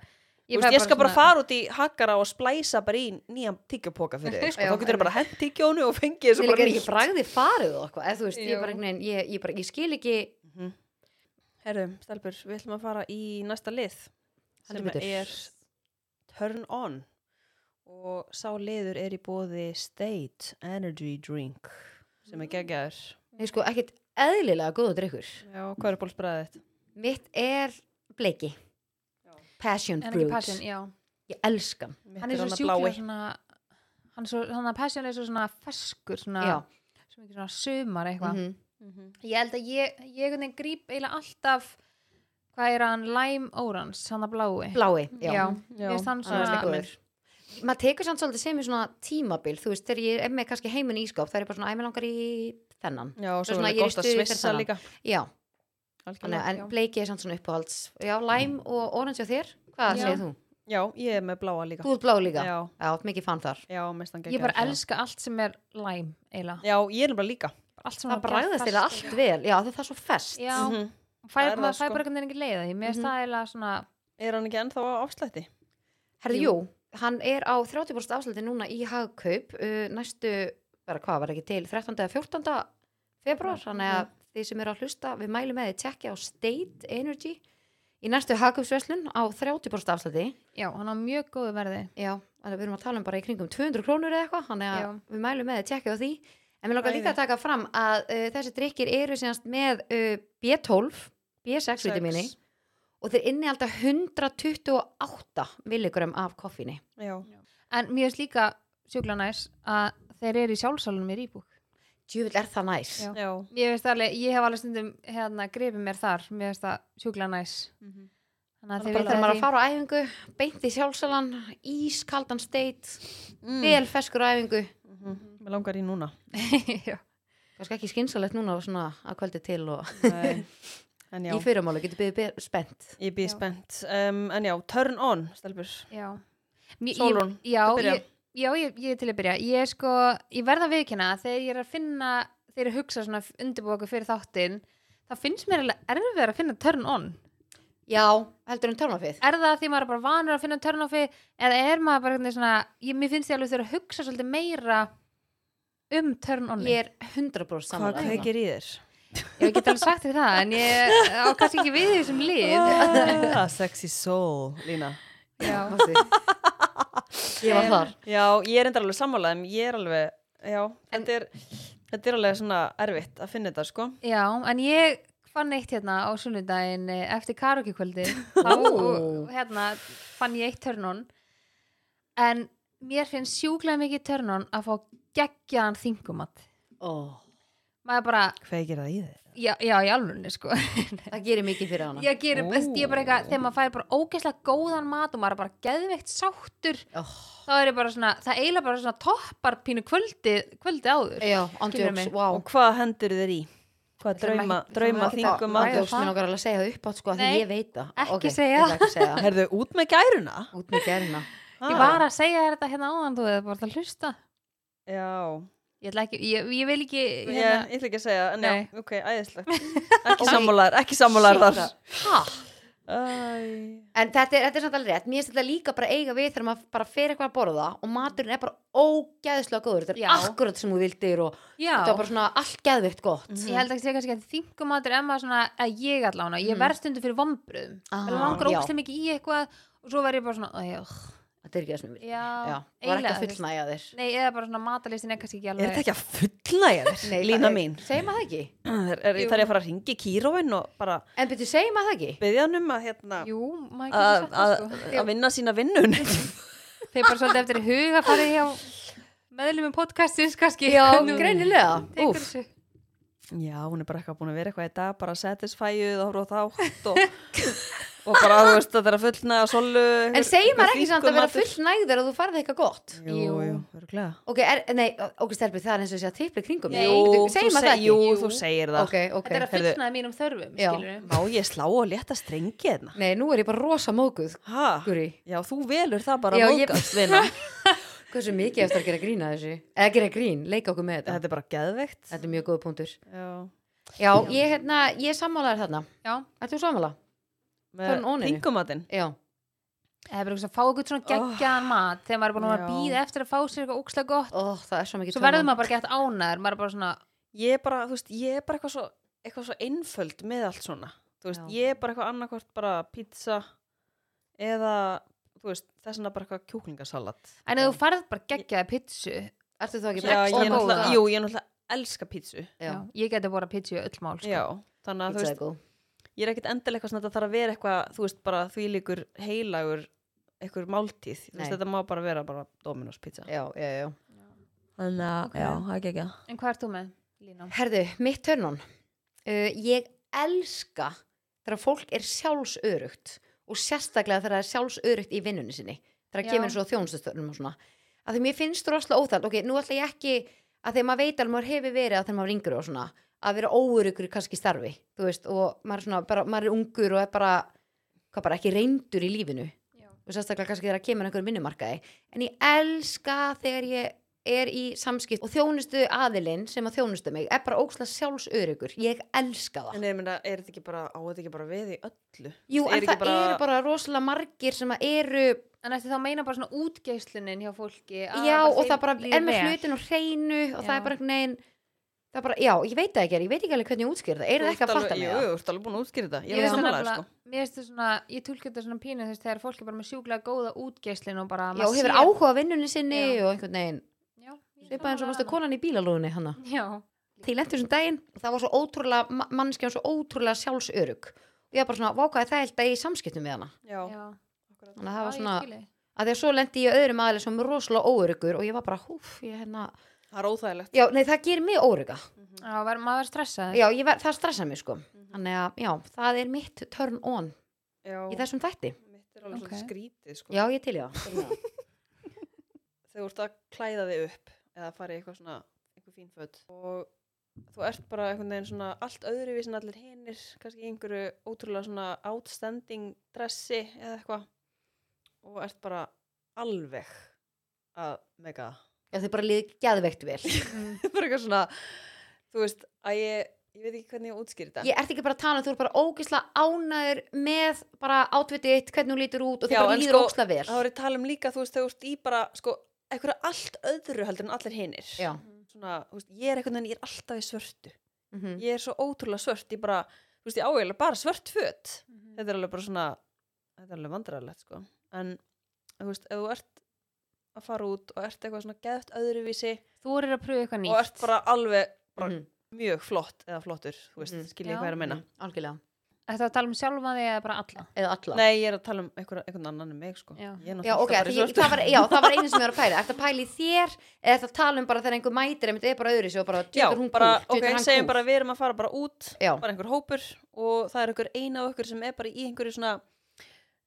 [SPEAKER 3] Ég,
[SPEAKER 1] fæ
[SPEAKER 3] veist, ég skal bara
[SPEAKER 1] svona-
[SPEAKER 3] fara út í hakkara og splæsa bara í nýjan tyggjópoka fyrir þig sko.
[SPEAKER 2] Já,
[SPEAKER 3] þá getur þau bara hent tyggjónu og fengið þessu
[SPEAKER 2] Ég
[SPEAKER 3] bara
[SPEAKER 2] er ekki
[SPEAKER 3] nýtt
[SPEAKER 2] bragði farið og eitthvað eða Þú veist, ég
[SPEAKER 1] Jú.
[SPEAKER 2] bara einhvern veginn Ég, ég, bara, ég skil ekki
[SPEAKER 3] Mhm. Herru, Stelbur, við ætlum að fara í næsta lið
[SPEAKER 2] Heldur
[SPEAKER 3] sem
[SPEAKER 2] betur.
[SPEAKER 3] er Turn On og sá liður er í bóði State Energy Drink sem er geggjaður
[SPEAKER 2] Nei, sko, ekkit eðlilega góðu drikkur
[SPEAKER 3] Já, hvað er bólsbræðið þitt?
[SPEAKER 2] Mitt er bleiki Passion
[SPEAKER 1] en
[SPEAKER 2] fruit
[SPEAKER 1] ekki passion, já
[SPEAKER 2] Ég elska hann
[SPEAKER 1] hann er svo sjúklega svona hann hann, er svo, hann að passion er svo svona feskur svona,
[SPEAKER 2] já,
[SPEAKER 1] svo mikið svona sumar Ah, eitthvað
[SPEAKER 2] mhm.
[SPEAKER 1] ég held að ég, ég einhvern veginn gríp eiginlega alltaf hvað er hann, lime orange hann að blái
[SPEAKER 2] blái, já,
[SPEAKER 1] Já. Mér finnst hann
[SPEAKER 3] hann er
[SPEAKER 1] svona-
[SPEAKER 3] góður.
[SPEAKER 2] maður tekur samt svolítið sem í svona tímabil þú veist, þegar ég er með kannski heiminn í skáp það er ég bara svona, æ, mig langar í þennan
[SPEAKER 3] Já, og
[SPEAKER 2] er
[SPEAKER 3] svo
[SPEAKER 2] svona ég
[SPEAKER 3] er
[SPEAKER 2] er í
[SPEAKER 3] gott að
[SPEAKER 2] stuði fyrir
[SPEAKER 3] svissa
[SPEAKER 2] þennan.
[SPEAKER 3] líka
[SPEAKER 2] já,
[SPEAKER 3] Algjörlega.
[SPEAKER 2] þannig, en bleiki er samt svona uppáhalds já, læm og orange á þér, hvað
[SPEAKER 1] Já.
[SPEAKER 2] segir þú?
[SPEAKER 3] Já, ég er með bláa líka
[SPEAKER 2] þú ert blá líka, já,
[SPEAKER 3] Já,
[SPEAKER 2] mikið fann þar
[SPEAKER 3] já, mest hann
[SPEAKER 1] ég bara
[SPEAKER 3] geggjaður.
[SPEAKER 1] elska allt sem er lime eiginlega,
[SPEAKER 3] Já, ég er bara líka
[SPEAKER 1] allt sem
[SPEAKER 2] það bræðast eða allt vel, já, það er svo fest
[SPEAKER 1] já,
[SPEAKER 3] Mhm.
[SPEAKER 1] fæ,
[SPEAKER 3] Það er
[SPEAKER 1] maður
[SPEAKER 3] það,
[SPEAKER 1] fæ
[SPEAKER 3] sko.
[SPEAKER 1] bara einhvern veginn ekki leið af því, mér finnst
[SPEAKER 2] Mhm.
[SPEAKER 1] það eiginlega svona
[SPEAKER 3] Er hann ekki ennþá á afslætti?
[SPEAKER 2] herðu,
[SPEAKER 3] Jú.
[SPEAKER 2] jú, hann er á 30% afsluti núna í hagkaup uh, næstu, bara hvað var ekki til 13. eða 14. februar þannig að þið sem eru að hlusta, við mælum með því tjekkja á State Energy í næstu hagkaupsveslun á 30% afsluti
[SPEAKER 1] já, hann á mjög góðu verði
[SPEAKER 2] Já, þannig að við erum að tala um bara í kringum 200 krónur eða eitthvað, þannig að
[SPEAKER 1] Já.
[SPEAKER 2] við mælum með að tjekka á því. En við langar líka
[SPEAKER 3] Æði.
[SPEAKER 2] að taka fram að uh, þessi drikkir eru síðanst með uh, B12, B6
[SPEAKER 3] Sex.
[SPEAKER 2] vitamini og þeir inni alltaf 128 milligram af koffíni.
[SPEAKER 3] Já,
[SPEAKER 1] en mér finnst líka sjúkla næs að þeir eru í sjálfsalunum í rýbúk
[SPEAKER 2] Djúvill er það næs.
[SPEAKER 1] Já.
[SPEAKER 3] já
[SPEAKER 1] ég, veist alveg, ég hef alveg stundum hérna, grefið mér þar mér finnst það sjúkla næs þannig að
[SPEAKER 2] Þeir
[SPEAKER 1] þeir
[SPEAKER 2] veit
[SPEAKER 1] vita
[SPEAKER 2] að maður að
[SPEAKER 1] því-
[SPEAKER 2] fara á æfingu, beint í sjálfsalan, ískaldan steit,
[SPEAKER 3] Mm.
[SPEAKER 2] vel feskur á æfingu.
[SPEAKER 3] Mér Mhm. langar í núna
[SPEAKER 1] Já.
[SPEAKER 2] Kannski ekki skynsalegt núna og svona að kvöldi til og
[SPEAKER 3] Nei. En já,
[SPEAKER 2] í fyrirmálu getur byggðið spennt.
[SPEAKER 3] ég
[SPEAKER 1] Já.
[SPEAKER 3] býð spennt um, En já, turn on, stelpur
[SPEAKER 1] Já. Mér- ég-
[SPEAKER 3] Sólrún,
[SPEAKER 1] já,
[SPEAKER 3] til að byrja.
[SPEAKER 1] ég, já ég, ég er til að byrja ég, er sko, ég verða viðkynna þegar ég er að finna þegar ég hugsa svona undirbúku fyrir þáttinn þá finnst mér alveg erfið að finna turn on
[SPEAKER 2] Já, heldur um törmafið.
[SPEAKER 1] er það því maður er bara vanur að finna turn offi eða er maður bara einhvern veginn svona ég, mér finnst ég alveg þegar að hugsa svolítið meira um turn onni
[SPEAKER 2] Ég er 100%
[SPEAKER 3] Hvað
[SPEAKER 2] samanlega.
[SPEAKER 3] kveikir í þér?
[SPEAKER 1] ég get alveg sagt þér það en ég á kannski ekki við í þessum lið
[SPEAKER 3] Ah, Sexy soul, Lína
[SPEAKER 1] já,
[SPEAKER 2] Manstu? ég var
[SPEAKER 1] Em,
[SPEAKER 2] þar
[SPEAKER 3] Já, ég er enda alveg sammála en ég er alveg, já, þetta er þetta er alveg svona erfitt að finna þetta sko
[SPEAKER 1] já, en ég fann eitt hérna á sunnudaginn eh, eftir karaokekvöldi þá
[SPEAKER 2] Ó.
[SPEAKER 1] hérna, fann ég eitt turn on en mér finnst sjúklega mikið turn on að fá geggjaðan þingumat maður bara,
[SPEAKER 3] Kveikir það í þér?
[SPEAKER 1] já, já í alvörunni sko
[SPEAKER 2] það gerir mikið fyrir hana
[SPEAKER 1] ég gerir best, ég er bara eitthvað þegar maður fær bara ógeðslega góðan mat og maður er bara geðveikt sáttur
[SPEAKER 2] oh.
[SPEAKER 1] þá er ég bara svona, það eiginlega bara svona toppar pínu kvöldi, kvöldi áður
[SPEAKER 2] já,
[SPEAKER 1] Skilur
[SPEAKER 2] andjóks,
[SPEAKER 1] mig.
[SPEAKER 2] wow
[SPEAKER 3] Og hvað hendur þér í? Hvað
[SPEAKER 1] Við þurfum
[SPEAKER 3] drauma,
[SPEAKER 1] ekki-
[SPEAKER 3] drauma
[SPEAKER 1] þurfum ekki að
[SPEAKER 3] þingum að
[SPEAKER 1] ræða.
[SPEAKER 3] þú?
[SPEAKER 2] andjóks, mér langar alveg um að segja það upp átt sko, af því
[SPEAKER 1] Nei,
[SPEAKER 2] ég veit það
[SPEAKER 1] ekki
[SPEAKER 2] Ok,
[SPEAKER 1] segja.
[SPEAKER 2] ég ætla ekki að segja
[SPEAKER 3] Herðu, út með gæruna?
[SPEAKER 2] út með gerina
[SPEAKER 1] ég var að segja þér þetta hérna áðan þú hefði bara að hlusta
[SPEAKER 3] Já,
[SPEAKER 1] ég, ætla ekki, ég, ég vil ekki
[SPEAKER 3] ég,
[SPEAKER 1] hérna,
[SPEAKER 3] ég ætla ekki að segja, en já,
[SPEAKER 1] Nei.
[SPEAKER 3] ok, æðislegt Ekki sammálaðar, ekki sammálaðar þar
[SPEAKER 2] ha?
[SPEAKER 3] Æ,
[SPEAKER 2] en þetta er, þetta er samt alveg rétt, mér finnst þetta líka bara eiga við þegar maður bara fer eitthvað að borða og maturinn er bara ógeðslega góður þetta er
[SPEAKER 1] Já.
[SPEAKER 2] akkurat sem þú vildir og
[SPEAKER 1] já,
[SPEAKER 2] þetta er bara svona allt geðvitt gott
[SPEAKER 1] ég held ekki að segja kannski að þingumatur emma svona, að ég allána, ég verð stundu fyrir vombröðum
[SPEAKER 2] Ah,
[SPEAKER 1] mér langar
[SPEAKER 2] já.
[SPEAKER 1] ógeðslega mikið í eitthvað og svo verð ég bara svona, æ, ugh,
[SPEAKER 2] þetta er ekki það sem ég vil
[SPEAKER 1] já,
[SPEAKER 2] já, var ekki
[SPEAKER 1] eiginlega,
[SPEAKER 2] að
[SPEAKER 1] þú veist.
[SPEAKER 2] fullnæja þér
[SPEAKER 1] nei, eða bara svona matalistin er kannski ekki
[SPEAKER 3] Er
[SPEAKER 1] alveg
[SPEAKER 3] þetta ekki að fullnæja þér,
[SPEAKER 2] Nei,
[SPEAKER 3] Lína
[SPEAKER 2] það-
[SPEAKER 3] mín?
[SPEAKER 2] segir maður það ekki?
[SPEAKER 3] Er, er,
[SPEAKER 1] Jú.
[SPEAKER 3] þarf ég að fara að ringi kíróin og bara
[SPEAKER 2] en betur segir maður það ekki?
[SPEAKER 3] byggja hann um að hérna
[SPEAKER 1] jú, maður getur
[SPEAKER 3] að
[SPEAKER 1] sagt það
[SPEAKER 3] að-
[SPEAKER 1] sko
[SPEAKER 3] að vinna sína vinnun
[SPEAKER 1] þeir bara svolítið eftir huga farið hjá meðlumum podcastins kannski
[SPEAKER 2] já,
[SPEAKER 1] Nú,
[SPEAKER 2] greinilega
[SPEAKER 1] tekur
[SPEAKER 2] Úff.
[SPEAKER 1] þessu.
[SPEAKER 3] Já, hún er bara eitthvað búin að vera eitthvað í dag bara satisfæjuð og horfa á þátt og, og bara þú veist að það er að fullna og solu
[SPEAKER 2] En segir maður ekki samt að vera fullnægður og þú farði eitthvað gott?
[SPEAKER 3] Jú, jú, örglega
[SPEAKER 2] Ok, er, nei, ok, stelpur, það er eins og sé að tipla í kringum.
[SPEAKER 1] Nei,
[SPEAKER 2] Bíddu,
[SPEAKER 3] Jú,
[SPEAKER 2] segir
[SPEAKER 3] þú
[SPEAKER 2] maður það
[SPEAKER 3] seg-
[SPEAKER 2] ekki?
[SPEAKER 3] jú, þú segir það
[SPEAKER 2] Ok, ok.
[SPEAKER 1] þetta er að
[SPEAKER 3] Heyrðu.
[SPEAKER 1] fullnaði mínum þörfum
[SPEAKER 2] Já.
[SPEAKER 1] skilurðu.
[SPEAKER 3] Má ég slá og létta strengi hérna?
[SPEAKER 2] Nei, nú er ég bara rosa móguð,
[SPEAKER 3] Ha?
[SPEAKER 2] Guri.
[SPEAKER 3] Já, þú velur það bara
[SPEAKER 2] Já,
[SPEAKER 3] að
[SPEAKER 2] ég-
[SPEAKER 3] mókast, vinna
[SPEAKER 2] Hversu mikið eftir að gera grín að þessu? Eða gera grín, leika okkur með þetta.
[SPEAKER 3] Þetta er bara geðveikt
[SPEAKER 2] Þetta er mjög góða punktur.
[SPEAKER 3] Já,
[SPEAKER 2] Já, ég, hérna, ég sammálaður þarna.
[SPEAKER 1] já,
[SPEAKER 2] Ert þú sammála? Turn
[SPEAKER 3] með
[SPEAKER 2] on-inu.
[SPEAKER 3] pingumatinn
[SPEAKER 2] Já.
[SPEAKER 1] Það er bara eitthvað að fá eitthvað svona geggjaðan mat þegar maður er búin að vera að
[SPEAKER 3] Já.
[SPEAKER 1] býða eftir að fá sér eitthvað ókslega gott
[SPEAKER 2] Ó, það er svo mikið
[SPEAKER 1] svo verður maður bara gett ánæður maður er bara svona,
[SPEAKER 3] Ég er bara, þú veist, ég er bara eitthvað svo eitthvað svo einföld með allt svona þú veist,
[SPEAKER 2] Já.
[SPEAKER 3] ég er bara eitthvað annarkvort bara pizza eða, þú veist, þess vegna bara eitthvað kjúklingasalat
[SPEAKER 1] en ef þú farð bara geggjaði pitsu já.
[SPEAKER 2] Ertu þú ekki
[SPEAKER 3] Já, ég
[SPEAKER 1] og
[SPEAKER 3] er náttúrulega,
[SPEAKER 1] góða.
[SPEAKER 3] jú, ég er náttúrulega elska pizzu
[SPEAKER 2] Já,
[SPEAKER 1] ég geti búin að pitsu í öll mál sko.
[SPEAKER 3] Já, þannig að þú
[SPEAKER 2] pizza er
[SPEAKER 3] veist,
[SPEAKER 2] góð.
[SPEAKER 3] ég er ekkert endilega eitthvað svona að það þarf að vera eitthvað, þú veist, bara því líkur heilagur, eitthvað máltíð, þú veist,
[SPEAKER 2] Nei.
[SPEAKER 3] þetta má bara vera bara Dominos pizza
[SPEAKER 2] Já, já, já.
[SPEAKER 3] þannig að
[SPEAKER 1] Ok.
[SPEAKER 3] já, það er ekki
[SPEAKER 1] En hvað ert þú með, Lína?
[SPEAKER 2] Herðu, mitt törnun uh, Ég elska þegar fólk er sjálfsörugt og sérstaklega þegar það er sjálfsörugt í vinnunni sinni
[SPEAKER 1] Já.
[SPEAKER 2] þegar það kemur svo þjónustustörnum og svona að því mér finnst rosslega óþælt ok, nú ætla ég ekki að þegar maður veit að maður hefur verið að þegar maður er yngri og svona að vera óurugur kannski í starfi þú veist, og maður er, svona, bara, maður er ungur og er bara, hvað bara ekki reyndur í lífinu
[SPEAKER 1] Já.
[SPEAKER 2] og sérstaklega kannski þegar að kemur einhverjum vinnumarkaði en ég elska þegar ég er í samskipt og þjónustu aðilinn sem að þjónustu mig er bara óksla sjálfsörugur, ég elska það
[SPEAKER 3] en ég meina, er þetta ekki bara á þetta ekki bara við í öllu
[SPEAKER 2] Jú,
[SPEAKER 3] Er
[SPEAKER 2] en
[SPEAKER 3] ekki
[SPEAKER 2] það
[SPEAKER 3] bara-
[SPEAKER 2] eru bara rosalega margir sem að eru
[SPEAKER 1] En eftir þá meina bara svona útgeislunin hjá fólki að
[SPEAKER 2] já og
[SPEAKER 1] þeim
[SPEAKER 2] það bara
[SPEAKER 1] líður
[SPEAKER 2] er með
[SPEAKER 1] vel.
[SPEAKER 2] hlutin og hreinu og það
[SPEAKER 1] Já.
[SPEAKER 2] er bara einhvern veginn það er bara, já, ég veit það ekki, ég veit ekki alveg hvernig ég útskýr það er það
[SPEAKER 3] Þú
[SPEAKER 2] ekki að
[SPEAKER 3] ert
[SPEAKER 2] fatta
[SPEAKER 3] alveg-
[SPEAKER 2] mig
[SPEAKER 3] Jú,
[SPEAKER 2] það?
[SPEAKER 3] þú ert alveg búin að útskýra þetta
[SPEAKER 1] Ég
[SPEAKER 3] Ég
[SPEAKER 1] veist
[SPEAKER 3] er
[SPEAKER 1] það
[SPEAKER 3] samanlega,
[SPEAKER 1] nefnilega-
[SPEAKER 3] sko
[SPEAKER 1] mér finnst það svona, ég tólka þetta svona pínu þú veist, þegar fólk er bara með sjúklega góða útgeislin og bara
[SPEAKER 2] Já, og hefur áhuga á vinnunni sinni
[SPEAKER 1] Já.
[SPEAKER 2] og einhvern veginn
[SPEAKER 1] Já, ég er
[SPEAKER 2] Svipað eins og
[SPEAKER 1] sammála
[SPEAKER 2] mástu
[SPEAKER 1] hana.
[SPEAKER 2] konan í bílalúðinni hana
[SPEAKER 1] Já,
[SPEAKER 2] til eftir þessum daginn það var svo ótrúlega, ma- manneskjan var svo ótrúlega sjálfsörug og ég var bara svona, vákaði það held að ég í samskiptum við hana
[SPEAKER 3] Já,
[SPEAKER 1] já
[SPEAKER 2] þannig að það
[SPEAKER 1] Já,
[SPEAKER 2] var
[SPEAKER 1] ég
[SPEAKER 2] svona,
[SPEAKER 1] skil þig.
[SPEAKER 2] að því að svo lendi ég í öðrum aðeins sem er rosalega óörugur og ég var bara, húf, ég hérna
[SPEAKER 3] það er óþægilegt
[SPEAKER 2] já, nei, það gerir mig óöruga
[SPEAKER 3] Mhm.
[SPEAKER 1] Já, var, maður var stressað
[SPEAKER 2] já, ég var, það stressa mig sko þannig að, já, það er mitt turn on
[SPEAKER 3] Já,
[SPEAKER 2] í þessum þætti,
[SPEAKER 3] mitt er alveg
[SPEAKER 1] Ok.
[SPEAKER 3] svolítið skrítið, sko
[SPEAKER 2] já, ég til já
[SPEAKER 3] þegar þú ert að klæða þig upp eða fara í eitthvað svona, eitthvað fín föt og þú ert bara einhvern veginn svona allt öðruvís en allir hinir kannski í einhverju ótrúlega svona outstanding dressi eða eitthvað og ert bara alveg að mega
[SPEAKER 2] já, þið bara liði geðveikt vel
[SPEAKER 1] mm.
[SPEAKER 3] bara eitthvað svona þú veist að ég, ég veit ekki hvernig ég útskýri þetta
[SPEAKER 2] ég ert ekki bara að tala, um, þú eru bara ógisla ánæður með bara átvitið eitt, hvernig hún lítur út og þið
[SPEAKER 3] Já,
[SPEAKER 2] bara
[SPEAKER 3] en
[SPEAKER 2] líður
[SPEAKER 3] sko,
[SPEAKER 2] ógisla vel
[SPEAKER 3] það voru tala um líka þú veist þegar þú ert í bara sko eitthvað allt öðru heldur en allir hinir
[SPEAKER 2] já,
[SPEAKER 1] Mm-hmm.
[SPEAKER 3] svona, þú veist, ég er einhvern veginn, ég er alltaf í svörtu
[SPEAKER 2] mm -hmm.
[SPEAKER 3] ég er svo ótrúlega svört ég bara, þú veist, ég ágæðilega bara svört föt
[SPEAKER 1] Mhm.
[SPEAKER 3] þetta er alveg bara svona þetta er alveg vandræðilegt sko en, þú veist, ef þú ert að fara út og ert eitthvað svona geðt öðruvísi
[SPEAKER 1] Þú eru að pröfa eitthvað nýtt
[SPEAKER 3] og ert bara alveg bara
[SPEAKER 2] Mhm.
[SPEAKER 3] mjög flott eða flottur, þú veist,
[SPEAKER 2] Mhm.
[SPEAKER 3] skil ég
[SPEAKER 1] Já.
[SPEAKER 3] hvað ég er að meina
[SPEAKER 2] algjörlega,
[SPEAKER 1] Þetta að tala um sjálfa þig eða bara alla
[SPEAKER 2] eða alla
[SPEAKER 3] nei, ég er að tala um einhver, einhvern annan en mig sko
[SPEAKER 1] Já.
[SPEAKER 3] ég
[SPEAKER 2] Já,
[SPEAKER 3] er náttúrulega
[SPEAKER 2] ok,
[SPEAKER 3] alltaf bara
[SPEAKER 2] því,
[SPEAKER 3] í
[SPEAKER 2] ég-
[SPEAKER 3] svörtu
[SPEAKER 2] það var, já, það var einu sem ég var að pæla Eftir að pæla í þér eða það tala um bara þegar einhver mætir einmitt er bara öðru og bara
[SPEAKER 3] já,
[SPEAKER 2] djöður hún
[SPEAKER 3] bara,
[SPEAKER 2] kúl,
[SPEAKER 3] ok,
[SPEAKER 2] djöfull hann
[SPEAKER 3] segjum
[SPEAKER 2] kúl.
[SPEAKER 3] bara við erum að fara bara út
[SPEAKER 2] Já,
[SPEAKER 3] bara einhver hópur og það er einhver eina af okkur sem er bara í einhverju svona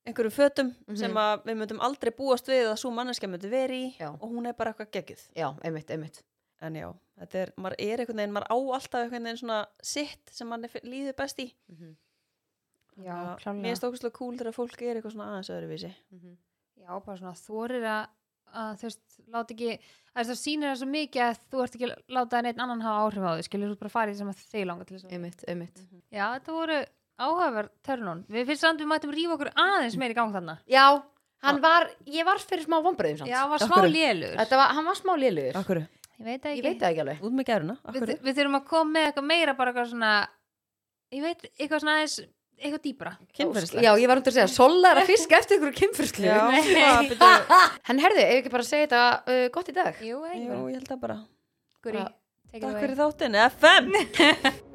[SPEAKER 3] einhverju fötum
[SPEAKER 2] Mhm.
[SPEAKER 3] sem að við möndum aldrei búast við að svo manneskja möndum veri í
[SPEAKER 2] Já.
[SPEAKER 3] og hún er bara eitthvað geggjuð
[SPEAKER 2] já, einmitt, einmitt
[SPEAKER 3] en já, þetta er, maður er einhvern veginn maður á alltaf einhvern veginn svona sitt sem mann er fi- líður best í
[SPEAKER 1] Mhm, Já,
[SPEAKER 3] Þannig að
[SPEAKER 1] klálega
[SPEAKER 3] mér er stókislega cool þegar fólk er eitthvað svona aðeins öðruvísi
[SPEAKER 1] mhm, Já, bara svona þorir að, að þú veist, láta ekki að það sýnir það svo mikið að þú ert ekki að láta neitt annan hafa áhrif á þig, skilur þú bara farið sem að þeir langa til þess að
[SPEAKER 2] Einmitt, einmitt
[SPEAKER 1] Já, þetta voru áhafar törnun Við finnst samt við mættum rífa okkur aðeins meir í gang þarna
[SPEAKER 2] Já, hann var, ég var fyrir smá vonbröðum samt
[SPEAKER 1] Já, hann var
[SPEAKER 3] Af
[SPEAKER 1] smá
[SPEAKER 3] hverju?
[SPEAKER 1] lélur
[SPEAKER 2] Þetta var, hann var smá liðlugur
[SPEAKER 3] Akkur,
[SPEAKER 1] Ég veit það
[SPEAKER 2] Ég
[SPEAKER 1] ekki
[SPEAKER 2] veit það ekki alveg
[SPEAKER 3] út með gæruna
[SPEAKER 1] við,
[SPEAKER 3] akkur,
[SPEAKER 1] við þurfum að koma með eitthvað meira bara eitthvað svona Ég veit, eitthvað svona aðeins eitthvað dýbra
[SPEAKER 3] kynferðislega
[SPEAKER 2] Já, ég var um til að segja, Sola er að fiska eftir ykkur kynfyrslu
[SPEAKER 3] Já, Ah, hvað, byrju,
[SPEAKER 2] Hann herði, ef ekki bara að segja þetta uh, gott í dag
[SPEAKER 1] Jú,
[SPEAKER 3] jú, ég held að bara
[SPEAKER 1] Guri,
[SPEAKER 2] Bara-
[SPEAKER 1] take it
[SPEAKER 3] Takk
[SPEAKER 1] away
[SPEAKER 3] fyrir þáttin, FM